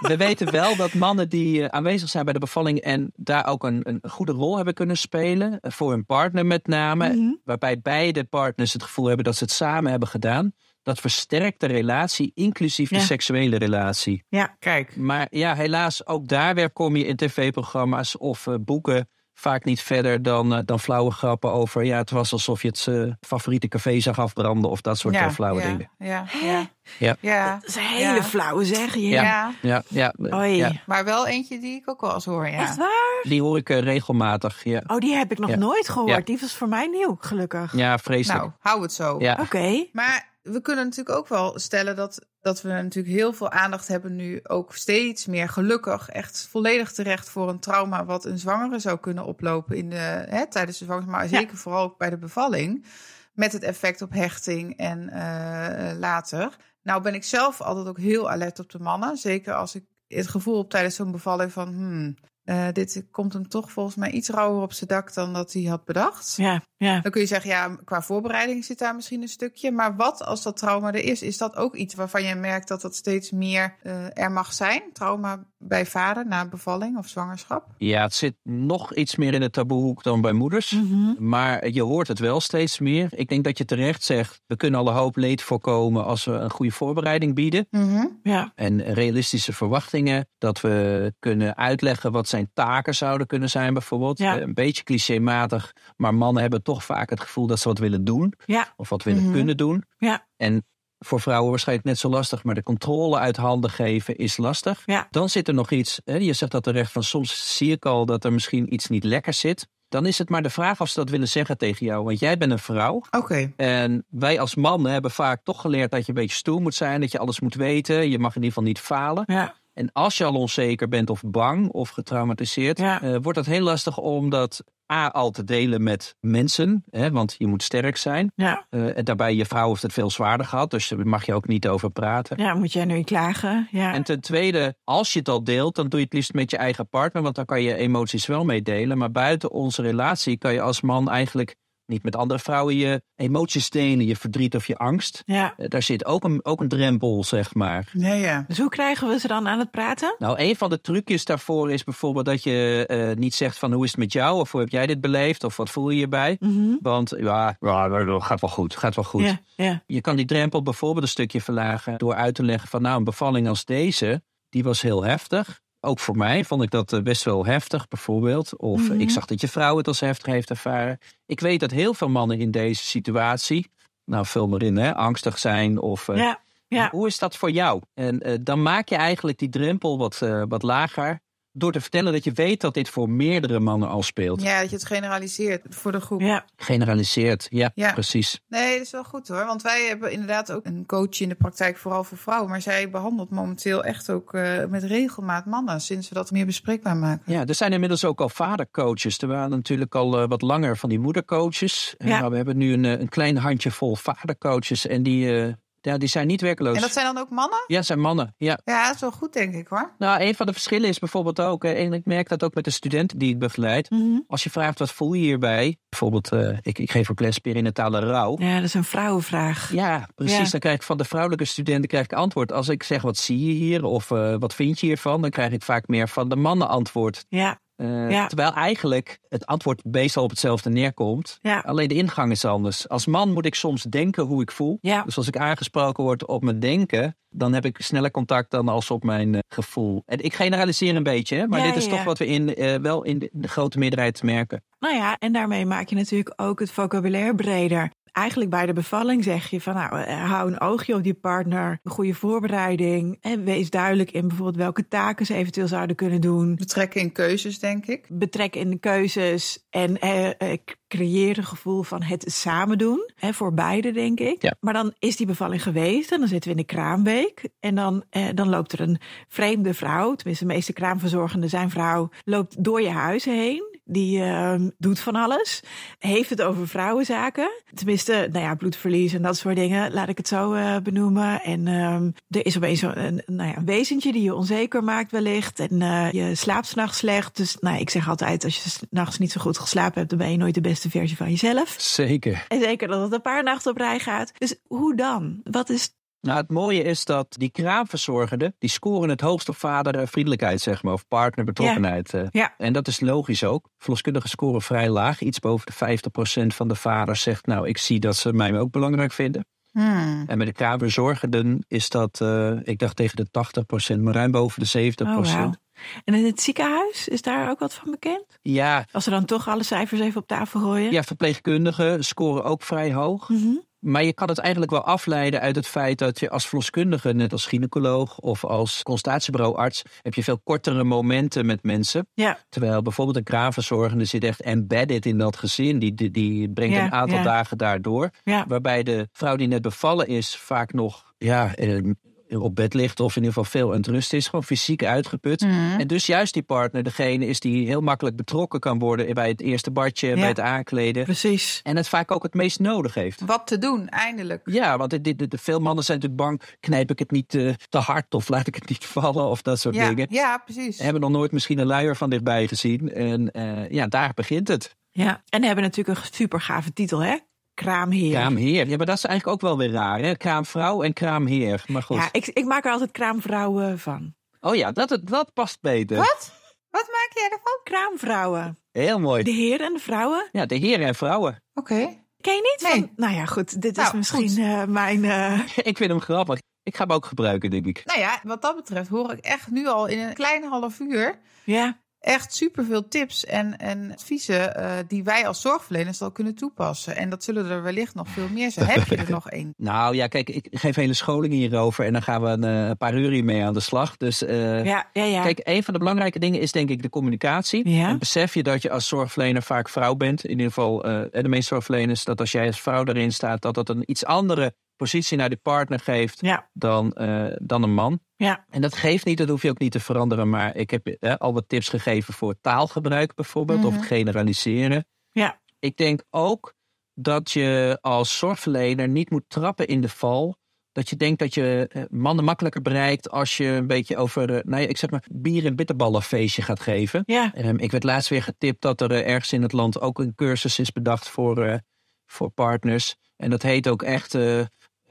S3: we weten wel dat mannen die eh, aanwezig zijn bij de bevalling en daar ook een, een goede rol hebben kunnen spelen, eh, voor hun partner met name, waarbij beide partners het gevoel hebben dat ze het samen hebben gedaan, dat versterkt de relatie, inclusief
S1: Ja.
S3: de seksuele relatie.
S4: Kijk.
S3: Maar ja, helaas, ook daar weer kom je in tv-programma's of eh, boeken vaak niet verder dan, eh, dan flauwe grappen over, ja, het was alsof je het eh, favoriete café zag afbranden of dat soort eh, flauwe
S2: ja,
S3: dingen.
S2: Ja,
S1: Hè?
S2: ja,
S3: Ja.
S2: ja,
S1: Dat is een hele
S2: Ja.
S1: flauwe zeg. Ja.
S2: ja.
S3: Ja, ja, eh,
S1: Oei.
S3: ja.
S2: Maar wel eentje die ik ook wel eens hoor, ja.
S1: Echt waar?
S3: die hoor ik eh, regelmatig. Ja,
S1: Oh, die heb ik nog
S3: Ja.
S1: nooit gehoord.
S3: Ja.
S1: Die was voor mij nieuw, gelukkig.
S3: ja vreselijk.
S2: Nou, hou het zo.
S3: ja.
S1: Oké.
S2: Maar we kunnen natuurlijk ook wel stellen dat dat we natuurlijk heel veel aandacht hebben nu ook steeds meer gelukkig echt volledig terecht voor een trauma wat een zwangere zou kunnen oplopen in de, hè, tijdens de zwangerschap, maar
S1: Ja.
S2: zeker vooral ook bij de bevalling met het effect op hechting en eh, later. Nou ben ik zelf altijd ook heel alert op de mannen, zeker als ik het gevoel heb tijdens zo'n bevalling van hmm, eh, dit komt hem toch volgens mij iets rauwer op zijn dak dan dat hij had bedacht.
S1: Ja, ja.
S2: Dan kun je zeggen, ja, qua voorbereiding zit daar misschien een stukje. Maar wat als dat trauma er is? Is dat ook iets waarvan je merkt dat dat steeds meer eh, er mag zijn? Trauma bij vader na bevalling of zwangerschap?
S3: Ja, het zit nog iets meer in de taboehoek dan bij moeders.
S1: Mhm.
S3: Maar je hoort het wel steeds meer. Ik denk dat je terecht zegt, we kunnen al een hoop leed voorkomen als we een goede voorbereiding bieden.
S2: Mhm.
S1: ja.
S3: En realistische verwachtingen, dat we kunnen uitleggen wat zijn taken zouden kunnen zijn bijvoorbeeld.
S1: Ja.
S3: Eh, Een beetje clichématig, maar mannen hebben toch vaak het gevoel dat ze wat willen doen.
S1: Ja.
S3: Of wat willen
S2: Mhm.
S3: kunnen doen.
S1: Ja.
S3: En voor vrouwen waarschijnlijk net zo lastig, maar de controle uit handen geven is lastig.
S1: Ja.
S3: Dan zit er nog iets, hè, je zegt dat terecht, van soms zie ik al dat er misschien iets niet lekker zit. Dan is het maar de vraag of ze dat willen zeggen tegen jou. Want jij bent een vrouw.
S2: Oké.
S3: En wij als mannen hebben vaak toch geleerd dat je een beetje stoer moet zijn. Dat je alles moet weten. Je mag in ieder geval niet falen.
S1: Ja.
S3: En als je al onzeker bent of bang of getraumatiseerd,
S1: Ja.
S3: eh, wordt dat heel lastig om dat A al te delen met mensen. Hè, want je moet sterk zijn.
S1: Ja.
S3: Eh, en daarbij, je vrouw heeft het veel zwaarder gehad. Dus daar mag je ook niet over praten.
S1: Ja, moet jij nu klagen? Ja.
S3: En ten tweede, als je het al deelt, dan doe je het liefst met je eigen partner. Want dan kan je emoties wel meedelen. Maar buiten onze relatie kan je als man eigenlijk niet met andere vrouwen je emoties delen. Je verdriet of je angst.
S1: ja.
S3: Eh, Daar zit ook een, ook een drempel, zeg maar.
S2: Nee, ja.
S1: Dus hoe krijgen we ze dan aan het praten?
S3: Nou, een van de trucjes daarvoor is bijvoorbeeld dat je eh, niet zegt van hoe is het met jou? Of hoe heb jij dit beleefd? Of wat voel je hierbij?
S1: Mhm.
S3: Want ja, ja, gaat wel goed, gaat wel goed.
S1: Ja, ja.
S3: Je kan die drempel bijvoorbeeld een stukje verlagen door uit te leggen van nou een bevalling als deze, die was heel heftig. Ook voor mij vond ik dat eh, best wel heftig bijvoorbeeld. Of eh,
S1: Mhm.
S3: ik zag dat je vrouw het als heftig heeft ervaren. Ik weet dat heel veel mannen in deze situatie, nou vul maar in, hè, angstig zijn of... eh,
S1: Ja, ja.
S3: Hoe is dat voor jou? En eh, dan maak je eigenlijk die drempel wat, eh, wat lager door te vertellen dat je weet dat dit voor meerdere mannen al speelt.
S2: ja, dat je het generaliseert voor de groep.
S1: ja.
S3: Generaliseerd, ja,
S2: Ja.
S3: precies.
S2: Nee, dat is wel goed hoor. Want wij hebben inderdaad ook een coach in de praktijk, vooral voor vrouwen. Maar zij behandelt momenteel echt ook eh, met regelmaat mannen, sinds we dat meer bespreekbaar maken.
S3: Ja, er zijn inmiddels ook al vadercoaches. Er waren natuurlijk al eh, wat langer van die moedercoaches. Eh,
S1: Ja.
S3: maar we hebben nu een, eh, een klein handjevol vadercoaches. En die, eh, ja, die zijn niet werkloos.
S2: En dat zijn dan ook mannen?
S3: Ja, zijn mannen. Ja.
S2: Ja, dat is wel goed denk ik hoor.
S3: Nou, een van de verschillen is bijvoorbeeld ook, eh, en ik merk dat ook met de studenten die ik begeleid.
S1: Mhm.
S3: Als je vraagt wat voel je hierbij, bijvoorbeeld, eh, ik, ik geef ook les perinatale rouw.
S1: ja, dat is een vrouwenvraag.
S3: Ja, precies.
S1: Ja.
S3: Dan krijg ik van de vrouwelijke studenten krijg ik antwoord. Als ik zeg wat zie je hier of eh, wat vind je hiervan, dan krijg ik vaak meer van de mannen antwoord.
S1: Ja,
S3: Eh,
S1: Ja.
S3: Terwijl eigenlijk het antwoord meestal op hetzelfde neerkomt.
S1: ja,
S3: Alleen de ingang is anders. Als man moet ik soms denken hoe ik voel.
S1: ja.
S3: Dus als ik aangesproken word op mijn denken, dan heb ik sneller contact dan als op mijn eh, gevoel. En ik generaliseer een beetje, hè, maar
S1: Ja,
S3: dit is
S1: ja,
S3: toch
S1: ja.
S3: wat we in, eh, wel in de, de grote meerderheid merken.
S1: Nou ja, en daarmee maak je natuurlijk ook het vocabulaire breder. Eigenlijk bij de bevalling zeg je van nou, eh, hou een oogje op die partner, een goede voorbereiding. En wees duidelijk in bijvoorbeeld welke taken ze eventueel zouden kunnen doen.
S2: Betrekken in keuzes denk ik.
S1: Betrek in de keuzes en eh, eh, creëer een gevoel van het samen doen. Hè, voor beide, denk ik.
S3: Ja.
S1: Maar dan is die bevalling geweest en dan zitten we in de kraamweek. En dan, eh, dan loopt er een vreemde vrouw, tenminste de meeste kraamverzorgenden zijn vrouw, loopt door je huis heen. Die ehm, doet van alles. Heeft het over vrouwenzaken. Tenminste, nou ja, bloedverlies en dat soort dingen. Laat ik het zo eh, benoemen. En ehm, er is opeens zo'n- een, nou ja, een wezentje die je onzeker maakt wellicht. En eh, je slaapt s'nachts slecht. Dus nou, ik zeg altijd, als je s'nachts niet zo goed geslapen hebt... dan ben je nooit de beste versie van jezelf.
S3: Zeker.
S1: En zeker dat het een paar nachten op rij gaat. Dus hoe dan? Wat is.
S3: Nou, het mooie is dat die kraamverzorgenden, die scoren het hoogst op vadervriendelijkheid, zeg maar, of partnerbetrokkenheid. eh.
S1: Ja.
S3: En dat is logisch ook. Verloskundigen scoren vrij laag. Iets boven de 50% van de vaders zegt, nou, ik zie dat ze mij ook belangrijk vinden.
S2: Hmm.
S3: En met de kraamverzorgenden is dat, eh, ik dacht tegen de 80%, maar ruim boven de 70%.
S1: Oh, wauw. En in het ziekenhuis is daar ook wat van bekend?
S3: Ja,
S1: Als ze dan toch alle cijfers even op tafel gooien.
S3: ja, verpleegkundigen scoren ook vrij hoog.
S1: Mhm.
S3: Maar je kan het eigenlijk wel afleiden uit het feit dat je als verloskundige, net als gynaecoloog of als constatiebureauarts, heb je veel kortere momenten met mensen.
S1: Ja.
S3: Terwijl bijvoorbeeld een kraamverzorgende zit echt embedded in dat gezin. Die, die, die brengt
S1: Ja,
S3: een aantal
S1: ja.
S3: dagen daardoor.
S1: Ja.
S3: Waarbij de vrouw die net bevallen is vaak nog ja, eh, op bed ligt of in ieder geval veel ontrust is, gewoon fysiek uitgeput.
S2: Mhm.
S3: En dus juist die partner degene is die heel makkelijk betrokken kan worden bij het eerste badje, bij het aankleden.
S1: Precies.
S3: En het vaak ook het meest nodig heeft.
S2: Wat te doen, eindelijk.
S3: Ja, want dit, dit, dit- veel mannen zijn natuurlijk bang, knijp ik het niet eh, te hard of laat ik het niet vallen of dat soort
S2: Ja,
S3: dingen.
S2: ja, precies.
S3: Hebben nog nooit misschien een luier van dichtbij gezien. En eh, ja, daar begint het.
S1: Ja. En we hebben natuurlijk een super gave titel, hè? Kraamheer.
S3: Kraamheer. Ja, maar dat is eigenlijk ook wel weer raar. Hè? Kraamvrouw en kraamheer. Maar goed.
S1: Ja, ik, ik maak er altijd kraamvrouwen van.
S3: Oh ja, dat, dat past beter.
S2: Wat? Wat maak jij ervan?
S1: Kraamvrouwen.
S3: Heel mooi.
S1: De heren en de vrouwen.
S3: Ja, de heren en vrouwen.
S2: Oké.
S1: Ken je niet?
S2: Nee.
S1: Van, nou ja, goed. Dit
S2: Nou,
S1: is misschien
S2: goed.
S1: eh, mijn... eh,
S3: ik vind hem grappig. Ik ga hem ook gebruiken, denk ik.
S2: Nou ja, wat dat betreft hoor ik echt nu al in een klein half uur
S1: ja.
S2: echt superveel tips en, en adviezen eh, die wij als zorgverleners al kunnen toepassen. En dat zullen er wellicht nog veel meer zijn. Heb je er nog één?
S3: Nou ja, kijk, ik geef hele scholingen hierover en dan gaan we een eh, paar uur hiermee aan de slag. Dus eh,
S1: ja, ja, ja.
S3: Kijk, een van de belangrijke dingen is denk ik de communicatie.
S1: Ja.
S3: En besef je dat je als zorgverlener vaak vrouw bent. In ieder geval eh, de meeste zorgverleners. Dat als jij als vrouw erin staat, dat dat een iets andere positie naar de partner geeft
S1: ja,
S3: dan, eh, dan een man.
S1: ja.
S3: En dat geeft niet, dat hoef je ook niet te veranderen. Maar ik heb eh, al wat tips gegeven voor taalgebruik bijvoorbeeld. Of
S1: Mhm.
S3: het generaliseren.
S1: Ja.
S3: Ik denk ook dat je als zorgverlener niet moet trappen in de val. Dat je denkt dat je eh, mannen makkelijker bereikt als je een beetje over, eh, nou ja, ik zeg maar, bier- en bitterballenfeestje gaat geven.
S1: Ja.
S3: Ehm, ik werd laatst weer getipt dat er eh, ergens in het land ook een cursus is bedacht voor, eh, voor partners. En dat heet ook echt eh, eh,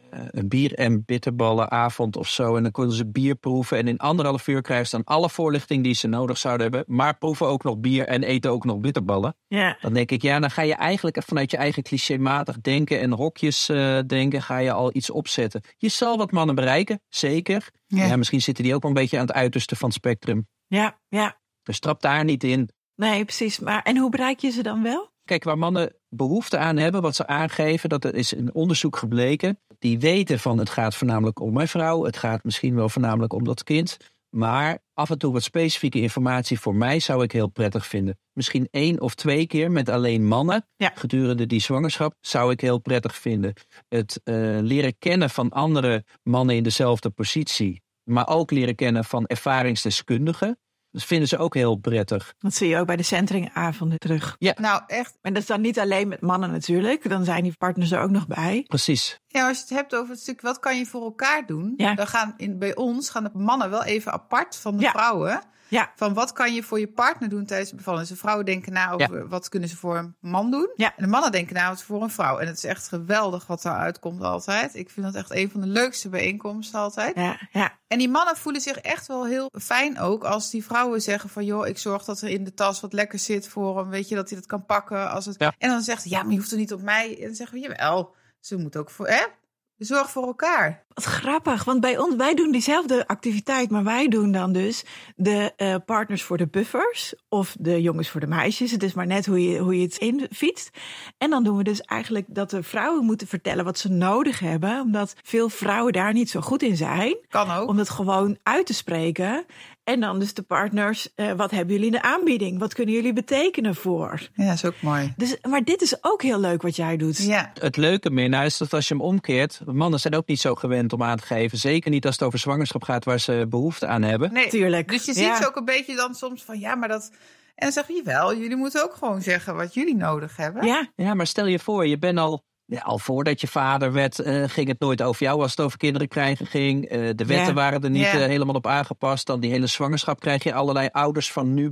S3: een bier- en bitterballenavond of zo. En dan konden ze bier proeven. En in anderhalf uur krijgen ze dan alle voorlichting die ze nodig zouden hebben. Maar proeven ook nog bier en eten ook nog bitterballen.
S1: Ja.
S3: Dan denk ik, ja, dan ga je eigenlijk vanuit je eigen clichématig denken en hokjes eh, denken, ga je al iets opzetten. Je zal wat mannen bereiken, zeker.
S2: Ja.
S3: Ja, misschien zitten die ook wel een beetje aan het uiterste van het spectrum.
S1: Ja, ja.
S3: Dus trap daar niet in.
S1: Nee, precies. Maar, en hoe bereik je ze dan wel?
S3: Kijk, waar mannen behoefte aan hebben, wat ze aangeven, dat er is in onderzoek gebleken. Die weten van het gaat voornamelijk om mijn vrouw, het gaat misschien wel voornamelijk om dat kind. Maar af en toe wat specifieke informatie voor mij zou ik heel prettig vinden. Misschien één of twee keer met alleen mannen
S1: Ja.
S3: gedurende die zwangerschap zou ik heel prettig vinden. Het eh, leren kennen van andere mannen in dezelfde positie, maar ook leren kennen van ervaringsdeskundigen. Dat vinden ze ook heel prettig.
S1: Dat zie je ook bij de centringavonden terug.
S2: Nou, echt.
S1: En dat is dan niet alleen met mannen natuurlijk. Dan zijn die partners er ook nog bij.
S3: Precies.
S2: Ja, als je het hebt over het stuk wat kan je voor elkaar doen,
S1: Ja.
S2: dan gaan in, bij ons gaan de mannen wel even apart van de
S1: Ja.
S2: vrouwen.
S1: Ja,
S2: Van wat kan je voor je partner doen tijdens de bevalling? Dus de vrouwen denken na over wat kunnen ze voor een man doen.
S1: Ja.
S2: En de mannen denken na wat ze voor een vrouw. En het is echt geweldig wat daaruit komt altijd. Ik vind dat echt een van de leukste bijeenkomsten altijd.
S1: ja, ja.
S2: En die mannen voelen zich echt wel heel fijn ook als die vrouwen zeggen van... joh, ik zorg dat er in de tas wat lekker zit voor hem. Weet je, dat hij dat kan pakken. Als het...
S3: Ja.
S2: En dan zegt hij, ja, maar je hoeft er niet op mij. En dan zeggen we, jawel, ze moet ook voor... Hè? Zorg voor elkaar.
S1: Wat grappig, want bij ons, wij doen diezelfde activiteit, maar wij doen dan dus de eh, partners voor de buffers of de jongens voor de meisjes. Het is maar net hoe je, hoe je het infietst. En dan doen we dus eigenlijk dat de vrouwen moeten vertellen wat ze nodig hebben, omdat veel vrouwen daar niet zo goed in zijn,
S2: Kan ook.
S1: om dat gewoon uit te spreken. En dan dus de partners, eh, wat hebben jullie in de aanbieding? Wat kunnen jullie betekenen voor?
S2: Ja, is ook mooi.
S1: Dus, maar dit is ook heel leuk wat jij doet.
S2: Ja,
S3: Het leuke meer nou is dat als je hem omkeert, mannen zijn ook niet zo gewend om aan te geven. Zeker niet als het over zwangerschap gaat waar ze behoefte aan hebben.
S2: nee.
S1: Tuurlijk.
S2: Dus je ziet
S1: Ja.
S2: ze ook een beetje dan soms van... ja, maar dat... En dan zeggen we, jawel, jullie moeten ook gewoon zeggen wat jullie nodig hebben.
S1: Ja,
S3: Ja, maar stel je voor, je bent al, ja, al voordat je vader werd, eh, ging het nooit over jou als het over kinderen krijgen ging. Eh, de wetten
S1: Ja.
S3: waren er niet
S2: Ja.
S3: eh, helemaal op aangepast. Dan die hele zwangerschap krijg je allerlei ouders van nu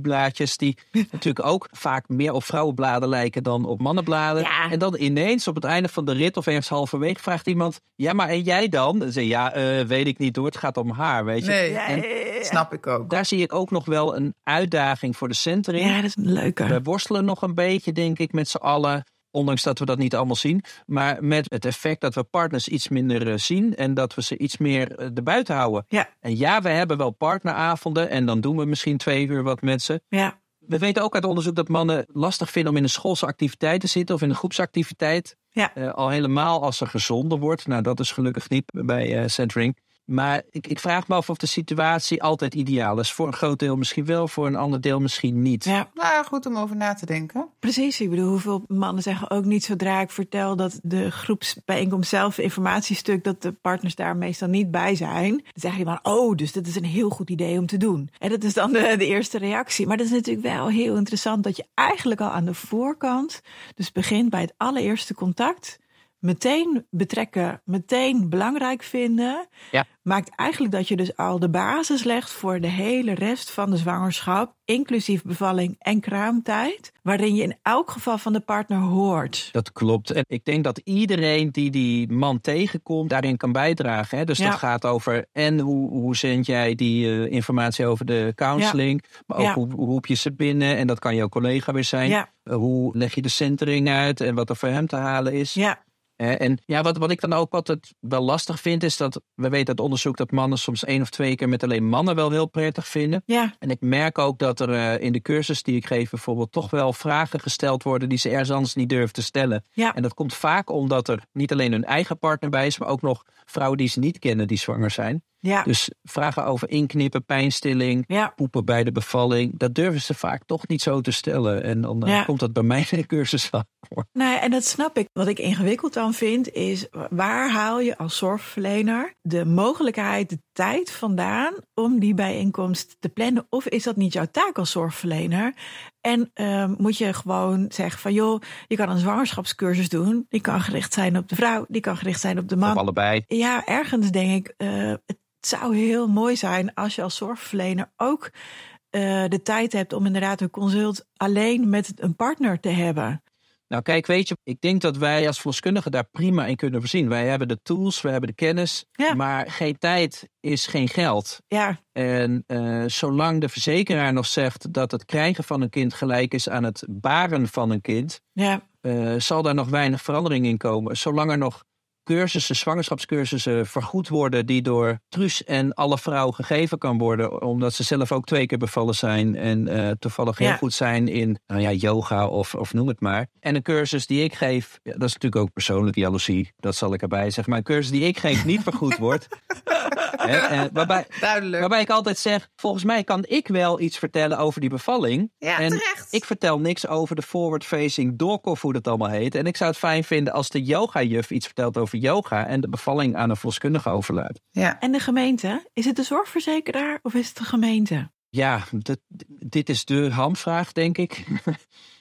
S3: blaadjes die natuurlijk ook vaak meer op vrouwenbladen lijken dan op mannenbladen.
S1: Ja.
S3: En dan ineens op het einde van de rit of ergens halverwege vraagt iemand, ja, maar en jij dan? Dan zeg je, ja, eh, weet ik niet hoor, het gaat om haar, weet je.
S2: Nee,
S1: ja,
S3: En-
S1: ja, ja, ja.
S2: snap ik ook.
S3: Daar zie ik ook nog wel een uitdaging voor de centering.
S1: Ja, dat is een leuke.
S3: We worstelen nog een beetje, denk ik, met z'n allen. Ondanks dat we dat niet allemaal zien. Maar met het effect dat we partners iets minder eh, zien. En dat we ze iets meer eh, erbuiten houden.
S1: Ja,
S3: En ja, we hebben wel partneravonden. En dan doen we misschien twee uur wat met ze.
S1: ja.
S3: We weten ook uit onderzoek dat mannen lastig vinden om in een schoolse activiteit te zitten. Of in een groepsactiviteit.
S1: Ja.
S3: Eh, al helemaal als er gezonder wordt. Nou, dat is gelukkig niet bij eh, centering. Maar ik, ik vraag me af of de situatie altijd ideaal is. Voor een groot deel misschien wel, voor een ander deel misschien niet.
S1: Ja,
S2: Nou, goed om over na te denken.
S1: precies. Ik bedoel, hoeveel mannen zeggen ook niet zodra ik vertel dat de groepsbijeenkomst zelf een informatiestuk, dat de partners daar meestal niet bij zijn. Dan zeggen die man, oh, dus dat is een heel goed idee om te doen. En dat is dan de, de eerste reactie. Maar dat is natuurlijk wel heel interessant dat je eigenlijk al aan de voorkant, dus begint bij het allereerste contact, meteen betrekken, meteen belangrijk vinden.
S3: Ja.
S1: Maakt eigenlijk dat je dus al de basis legt voor de hele rest van de zwangerschap, inclusief bevalling en kraamtijd, waarin je in elk geval van de partner hoort.
S3: Dat klopt. En ik denk dat iedereen die die man tegenkomt daarin kan bijdragen. Hè? Dus
S1: Ja.
S3: dat gaat over en hoe, hoe zend jij die eh, informatie over de counseling. Maar ook
S1: Ja.
S3: hoe, hoe roep je ze binnen. En dat kan jouw collega weer zijn.
S1: Ja,
S3: Eh, hoe leg je de centering uit en wat er voor hem te halen is.
S1: ja,
S3: Hè, En ja, wat, wat ik dan ook altijd wel lastig vind, is dat we weten uit onderzoek dat mannen soms één of twee keer met alleen mannen wel heel prettig vinden.
S1: ja,
S3: En ik merk ook dat er eh, in de cursus die ik geef bijvoorbeeld toch wel vragen gesteld worden die ze ergens anders niet durven te stellen.
S1: ja.
S3: En dat komt vaak omdat er niet alleen hun eigen partner bij is, maar ook nog vrouwen die ze niet kennen die zwanger zijn.
S1: ja.
S3: Dus vragen over inknippen, pijnstilling,
S1: Ja,
S3: poepen bij de bevalling, dat durven ze vaak toch niet zo te stellen. En dan eh,
S1: Ja.
S3: komt dat bij mij in de cursus wel voor.
S1: nou ja, en dat snap ik. Wat ik ingewikkeld dan vind, is waar haal je als zorgverlener de mogelijkheid, de tijd vandaan om die bijeenkomst te plannen? Of is dat niet jouw taak als zorgverlener? En ehm, moet je gewoon zeggen van joh, je kan een zwangerschapscursus doen. Die kan gericht zijn op de vrouw, die kan gericht zijn op de man.
S3: Of allebei.
S1: Ja, ergens denk ik, eh, het zou heel mooi zijn als je als zorgverlener ook eh, de tijd hebt om inderdaad een consult alleen met een partner te hebben.
S3: Nou, kijk, weet je, ik denk dat wij als verloskundigen daar prima in kunnen voorzien. Wij hebben de tools, we hebben de kennis,
S1: Ja.
S3: maar geen tijd is geen geld.
S1: Ja,
S3: En eh, zolang de verzekeraar nog zegt dat het krijgen van een kind gelijk is aan het baren van een kind,
S1: ja,
S3: eh, zal daar nog weinig verandering in komen. Zolang er nog cursussen, zwangerschapscursussen vergoed worden die door Truus en alle vrouwen gegeven kan worden, omdat ze zelf ook twee keer bevallen zijn en eh, toevallig heel
S1: Ja.
S3: goed zijn in nou ja, yoga of, of noem het maar. En een cursus die ik geef, ja, dat is natuurlijk ook persoonlijk jaloezie, dat zal ik erbij zeggen, maar een cursus die ik geef niet vergoed wordt. Hè, eh, waarbij,
S2: Duidelijk.
S3: waarbij ik altijd zeg, volgens mij kan ik wel iets vertellen over die bevalling,
S2: Ja,
S3: en
S2: terecht.
S3: ik vertel niks over de forward facing doork of hoe dat allemaal heet. En ik zou het fijn vinden als de yoga juf iets vertelt over yoga en de bevalling aan een verloskundige overlaat.
S2: ja.
S1: en de gemeente? Is het de zorgverzekeraar of is het de gemeente?
S3: Ja, dat- dit is de hamvraag, denk ik.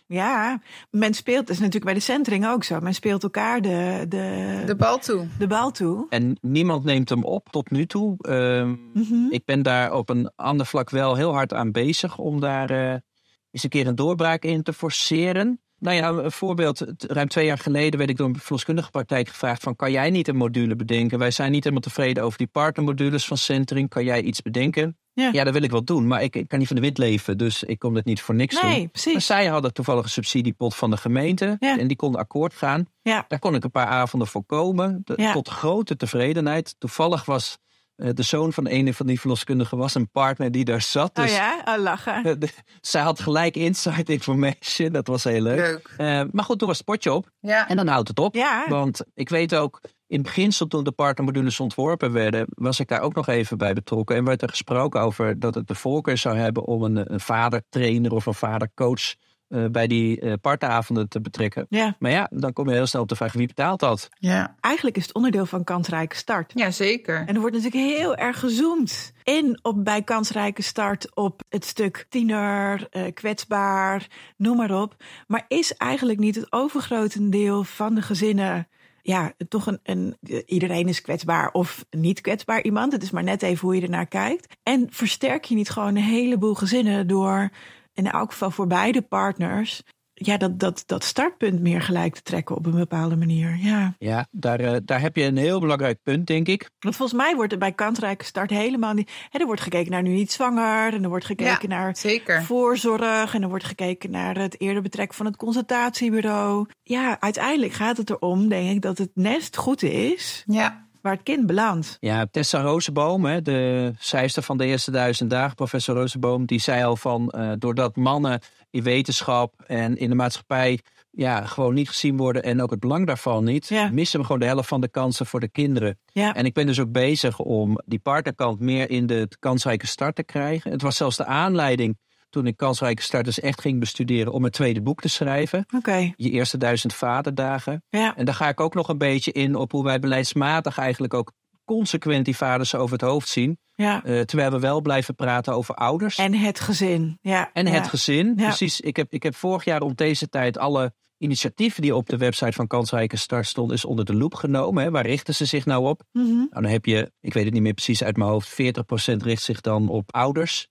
S1: Ja, men speelt, dat is natuurlijk bij de centering ook zo. Men speelt elkaar de, de,
S2: De
S1: de,
S2: bal toe.
S1: bal toe.
S3: En niemand neemt hem op tot nu toe. Ehm,
S1: Mhm.
S3: Ik ben daar op een ander vlak wel heel hard aan bezig om daar eh, eens een keer een doorbraak in te forceren. Nou ja, een voorbeeld. t- Ruim twee jaar geleden werd ik door een verloskundige praktijk gevraagd van... kan jij niet een module bedenken? Wij zijn niet helemaal tevreden over die partnermodules van Centering. Kan jij iets bedenken?
S1: Ja.
S3: dat wil ik wel doen, maar ik, ik kan niet van de wind leven. Dus ik kom dit niet voor niks doen.
S1: Nee,
S3: Maar
S1: precies.
S3: zij hadden toevallig een subsidiepot van de gemeente.
S1: Ja.
S3: En die konden akkoord gaan.
S1: Ja.
S3: Daar kon ik een paar avonden voor komen. De-
S1: Ja.
S3: Tot grote tevredenheid. Toevallig was eh, de zoon van een van die verloskundigen was een partner die daar zat.
S1: Oh
S3: Dus
S1: ja, oh, lachen.
S3: eh, de- zij had gelijk inside information. Dat was heel leuk.
S2: Leuk.
S3: Eh, maar goed, toen was het potje op.
S2: Ja.
S3: En dan houdt het op.
S1: Ja,
S3: Want ik weet ook, in het beginsel toen de partnermodules ontworpen werden, was ik daar ook nog even bij betrokken. En werd er gesproken over dat het de voorkeur zou hebben om een, een vadertrainer of een vadercoach eh, bij die eh, partneravonden te betrekken.
S1: ja,
S3: Maar ja, dan kom je heel snel op de vraag wie betaalt dat?
S2: Ja.
S1: eigenlijk is het onderdeel van kansrijke start.
S2: ja, zeker.
S1: En er wordt natuurlijk heel erg gezoomd in op bij kansrijke start op het stuk tiener, eh, kwetsbaar, noem maar op. Maar is eigenlijk niet het overgrotende deel van de gezinnen. Ja, toch een, een. Iedereen is kwetsbaar of niet kwetsbaar iemand. Het is maar net even hoe je ernaar kijkt. En versterk je niet gewoon een heleboel gezinnen door, in elk geval voor beide partners, ja, dat, dat, dat startpunt meer gelijk te trekken op een bepaalde manier. Ja.
S3: Ja, daar, eh, daar heb je een heel belangrijk punt, denk ik.
S1: Want volgens mij wordt er bij kansrijke start helemaal niet. Hè, er wordt gekeken naar nu niet zwanger. En er wordt gekeken naar
S2: Zeker.
S1: voorzorg. En er wordt gekeken naar het eerder betrekken van het consultatiebureau. Ja, uiteindelijk gaat het erom, denk ik, dat het nest goed is
S2: Ja.
S1: waar het kind belandt.
S3: Ja, Tessa Rozenboom, hè, de schrijfster van de eerste duizend dagen, professor Rozenboom, die zei al van eh, doordat mannen in wetenschap en in de maatschappij ja, gewoon niet gezien worden en ook het belang daarvan niet,
S1: Ja.
S3: missen we gewoon de helft van de kansen voor de kinderen.
S1: Ja.
S3: En ik ben dus ook bezig om die partnerkant meer in de kansrijke start te krijgen. Het was zelfs de aanleiding toen ik kansrijke starters echt ging bestuderen om mijn tweede boek te schrijven.
S1: Oké,
S3: Je eerste duizend vaderdagen.
S1: ja.
S3: En daar ga ik ook nog een beetje in op hoe wij beleidsmatig eigenlijk ook consequent die vaders over het hoofd zien.
S1: ja.
S3: Eh, terwijl we wel blijven praten over ouders.
S1: En het gezin. Ja.
S3: En
S1: ja.
S3: het gezin.
S1: Ja.
S3: Precies. Ik heb, ik heb vorig jaar om deze tijd alle initiatieven die op de website van Kansrijke Start stonden, is onder de loep genomen. Hè. Waar richten ze zich nou op?
S1: Mhm.
S3: Nou, dan heb je, ik weet het niet meer precies uit mijn hoofd, 40% richt zich dan op ouders.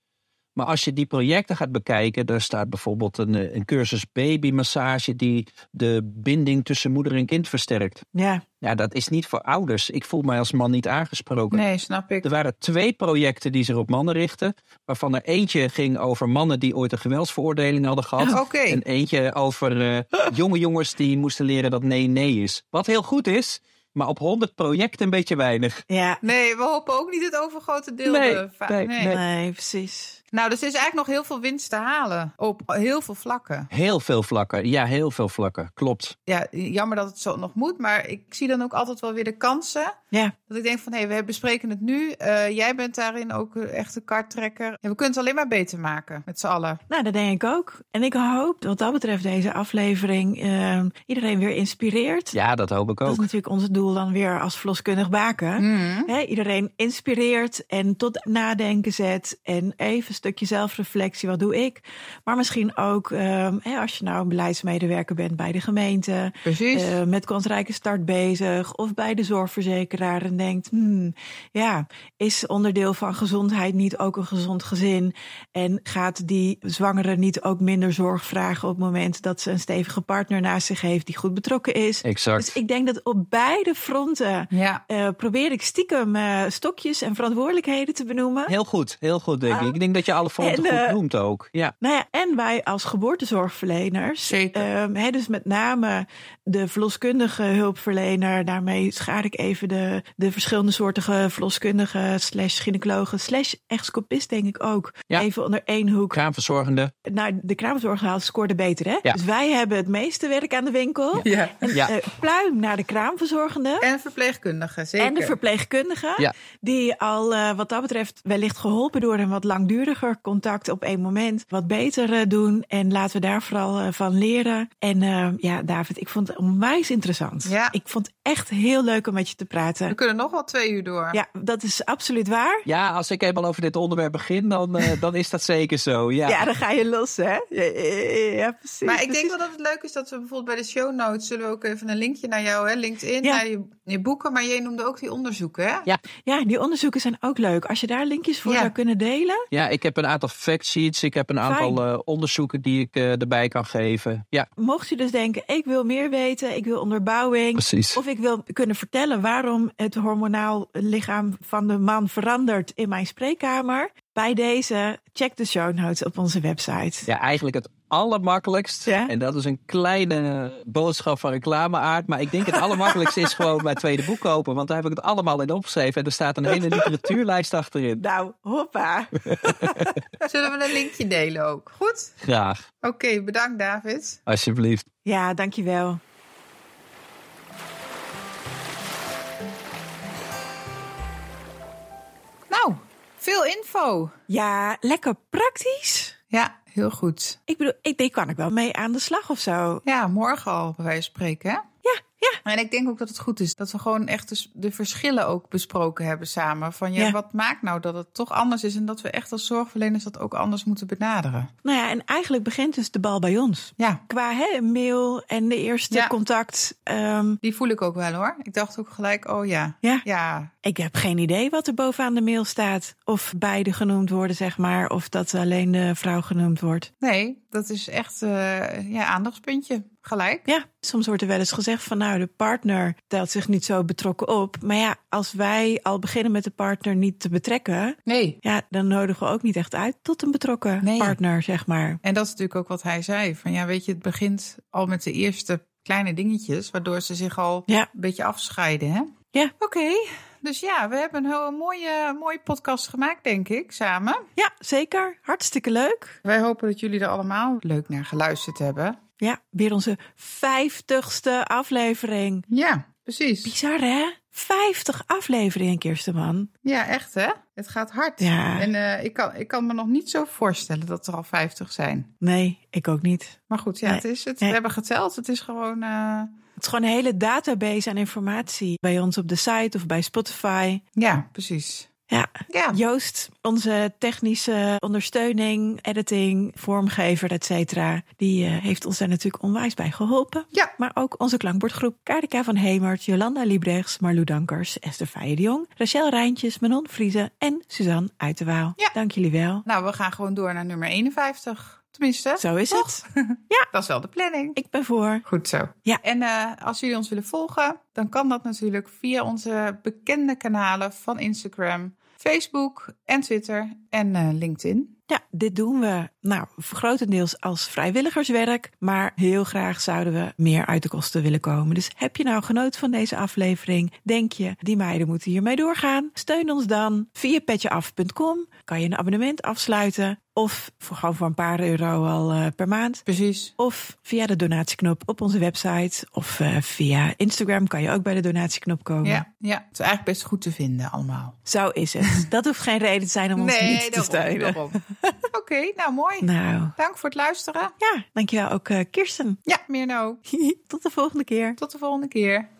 S3: Maar als je die projecten gaat bekijken, daar staat bijvoorbeeld een, eh, een cursus babymassage die de binding tussen moeder en kind versterkt.
S1: Ja.
S3: Ja, dat is niet voor ouders. Ik voel mij als man niet aangesproken.
S2: Nee, snap ik.
S3: Er waren twee projecten die zich op mannen richtten. Waarvan er eentje ging over mannen die ooit een geweldsveroordeling hadden gehad.
S2: Oké,
S3: En eentje over eh, jonge jongens die moesten leren dat nee nee is. Wat heel goed is, maar op 100 projecten een beetje weinig.
S1: ja.
S2: nee, we hopen ook niet het overgrote deel.
S3: Nee,
S2: eh, va-
S3: nee, nee.
S1: Nee, precies.
S2: Nou, dus er is eigenlijk nog heel veel winst te halen op heel veel vlakken.
S3: Heel veel vlakken. Ja, heel veel vlakken. Klopt.
S2: Ja, jammer dat het zo nog moet, maar ik zie dan ook altijd wel weer de kansen.
S1: Ja.
S2: Dat ik denk van, hé, we bespreken het nu. Eh, jij bent daarin ook eh, echt een karttrekker. Ja, we kunnen het alleen maar beter maken, met z'n allen.
S1: Nou, dat denk ik ook. En ik hoop wat dat betreft deze aflevering ehm, iedereen weer inspireert.
S3: Ja, dat hoop ik
S1: Dat is
S3: ook.
S1: natuurlijk ons doel dan weer als verloskundig
S2: Mhm.
S1: baken. Hè, iedereen inspireert en tot nadenken zet. En even een stukje zelfreflectie, wat doe ik? Maar misschien ook ehm, hè, als je nou een beleidsmedewerker bent bij de gemeente.
S2: Precies.
S1: eh, met kansrijke start bezig of bij de zorgverzekeraar en denkt, hmm, ja, is onderdeel van gezondheid niet ook een gezond gezin? En gaat die zwangere niet ook minder zorg vragen op het moment dat ze een stevige partner naast zich heeft die goed betrokken is? Dus
S3: Exact.
S1: ik denk dat op beide fronten
S2: ja.
S1: eh, probeer ik stiekem eh, stokjes en verantwoordelijkheden te benoemen.
S3: Heel goed, heel goed denk ik. Ik denk dat je alle fronten
S1: Ah. En, eh,
S3: goed noemt ook. Ja.
S1: Nou ja, en wij als geboortezorgverleners,
S2: Zeker.
S1: ehm, hè, dus met name de verloskundige hulpverlener, daarmee schaar ik even de, de verschillende soorten verloskundigen, slash gynaecologen, slash echoscopist denk ik ook,
S3: Ja.
S1: even onder één hoek.
S3: Kraamverzorgende.
S1: Nou, de kraamzorghaal scoorde beter, hè?
S3: Ja.
S1: Dus wij hebben het meeste werk aan de winkel.
S2: ja.
S1: En,
S3: Ja.
S1: eh, pluim naar de kraamverzorgende.
S2: En verpleegkundigen, zeker.
S1: En de verpleegkundige,
S3: Ja.
S1: die al eh, wat dat betreft wellicht geholpen door een wat langduriger contact op één moment wat beter eh, doen. En laten we daar vooral eh, van leren. En eh, ja, David, ik vond het onwijs interessant.
S2: Ja.
S1: Ik vond het echt heel leuk om met je te
S2: we
S1: praten.
S2: kunnen nog wel twee uur door.
S1: Ja, dat is absoluut waar.
S3: Ja, als ik eenmaal over dit onderwerp begin, dan, eh, dan is dat zeker zo.
S1: Ja, dan ga je los, hè? Ja, ja, precies.
S2: Maar ik denk
S1: precies.
S2: wel dat het leuk is dat we bijvoorbeeld bij de show notes... zullen we ook even een linkje naar jou, hè, LinkedIn,
S1: Ja.
S2: naar je, je boeken. Maar jij noemde ook die onderzoeken, hè?
S3: Ja.
S1: Ja, die onderzoeken zijn ook leuk. Als je daar linkjes voor
S2: Ja.
S1: zou kunnen delen.
S3: Ja, ik heb een aantal factsheets. Ik heb een aantal eh, onderzoeken die ik eh, erbij kan geven. Ja,
S1: Mocht je dus denken, ik wil meer weten, ik wil onderbouwing.
S3: precies.
S1: Of ik wil kunnen vertellen waarom het hormonaal lichaam van de man verandert in mijn spreekkamer. Bij deze, check de show notes op onze website.
S3: Ja, eigenlijk het allermakkelijkst.
S1: Ja.
S3: En dat is een kleine boodschap van reclameaard. Maar ik denk het allermakkelijkst is gewoon mijn tweede boek kopen. Want daar heb ik het allemaal in opgeschreven. En er staat een hele literatuurlijst achterin.
S1: Nou, hoppa.
S2: Zullen we een linkje delen ook? Goed?
S3: Graag,
S2: Oké, bedankt David.
S3: alsjeblieft.
S1: Ja, dankjewel.
S2: Nou, veel info.
S1: Ja, lekker praktisch.
S2: Ja, heel goed.
S1: Ik bedoel, ik, die kan ik wel mee aan de slag of zo.
S2: Ja, morgen al bij wijze van spreken. Hè?
S1: Ja, ja.
S2: En ik denk ook dat het goed is dat we gewoon echt dus de verschillen ook besproken hebben samen. Van ja,
S1: Ja.
S2: wat maakt nou dat het toch anders is en dat we echt als zorgverleners dat ook anders moeten benaderen.
S1: Nou ja, en eigenlijk begint dus de bal bij ons.
S2: Ja,
S1: Qua hè, mail en de eerste
S2: Ja.
S1: contact. ehm,
S2: die voel ik ook wel hoor. Ik dacht ook gelijk, oh ja.
S1: Ja.
S2: Ja,
S1: Ik heb geen idee wat er bovenaan de mail staat. Of beide genoemd worden, zeg maar. Of dat alleen de vrouw genoemd wordt.
S2: nee, dat is echt eh ja, aandachtspuntje. Gelijk.
S1: Ja, soms wordt er wel eens gezegd van nou, de partner telt zich niet zo betrokken op. Maar ja, als wij al beginnen met de partner niet te betrekken,
S2: Nee.
S1: ja, dan nodigen we ook niet echt uit tot een betrokken
S2: Nee.
S1: partner, zeg maar.
S2: En dat is natuurlijk ook wat hij zei. Van ja, weet je, het begint al met de eerste kleine dingetjes, waardoor ze zich al
S1: Ja,
S2: een beetje afscheiden, hè?
S1: Ja.
S2: Oké. Dus ja, we hebben een heel mooie, mooie podcast gemaakt, denk ik, samen.
S1: ja zeker. Hartstikke leuk.
S2: Wij hopen dat jullie er allemaal leuk naar geluisterd hebben.
S1: Ja, weer onze vijftigste aflevering.
S2: Ja, precies.
S1: Bizar hè? 50 afleveringen, Kirsten Man.
S2: Ja, echt hè? Het gaat hard.
S1: Ja,
S2: En eh, ik, kan, ik kan me nog niet zo voorstellen dat er al 50 zijn.
S1: nee, ik ook niet.
S2: Maar goed, ja,
S1: Nee.
S2: het is het.
S1: Nee.
S2: We hebben geteld. Het is gewoon. eh,
S1: Het is gewoon een hele database aan informatie bij ons op de site of bij Spotify.
S2: ja, precies.
S1: Ja,
S2: Ja,
S1: Joost, onze technische ondersteuning, editing, vormgever, et cetera, die eh, heeft ons daar natuurlijk onwijs bij geholpen.
S2: Ja.
S1: Maar ook onze klankbordgroep Kaarika van Hemert, Jolanda Liebrechts, Marlou Dankers, Esther Feijer de Jong, Rachel Rijntjes, Manon Vriezen en Suzanne Uiterwaal.
S2: Ja.
S1: Dank jullie wel.
S2: nou, we gaan gewoon door naar nummer 51. Tenminste,
S1: Zo is
S2: Toch?
S1: het.
S2: dat is wel de planning.
S1: Ik ben voor.
S2: Goed zo.
S1: Ja.
S2: En eh, als jullie ons willen volgen, dan kan dat natuurlijk via onze bekende kanalen van Instagram, Facebook en Twitter en eh, LinkedIn.
S1: Ja, dit doen we nou grotendeels als vrijwilligerswerk, maar heel graag zouden we meer uit de kosten willen komen. Dus heb je nou genoten van deze aflevering? Denk je, die meiden moeten hiermee doorgaan? Steun ons dan via petjeaf.com. Kan je een abonnement afsluiten of voor gewoon voor een paar euro al eh, per maand.
S2: Precies.
S1: Of via de donatieknop op onze website. Of eh, via Instagram kan je ook bij de donatieknop komen.
S2: Ja, ja, het is eigenlijk best goed te vinden allemaal.
S1: Zo is het. Dat hoeft geen reden te zijn om ons niet te
S2: daarom,
S1: steunen.
S2: daarom. Oké, nou mooi.
S1: Nou,
S2: Dank voor het luisteren.
S1: ja, dankjewel ook eh, Kirsten.
S2: Ja, meer nou.
S1: Tot de volgende keer.
S2: Tot de volgende keer.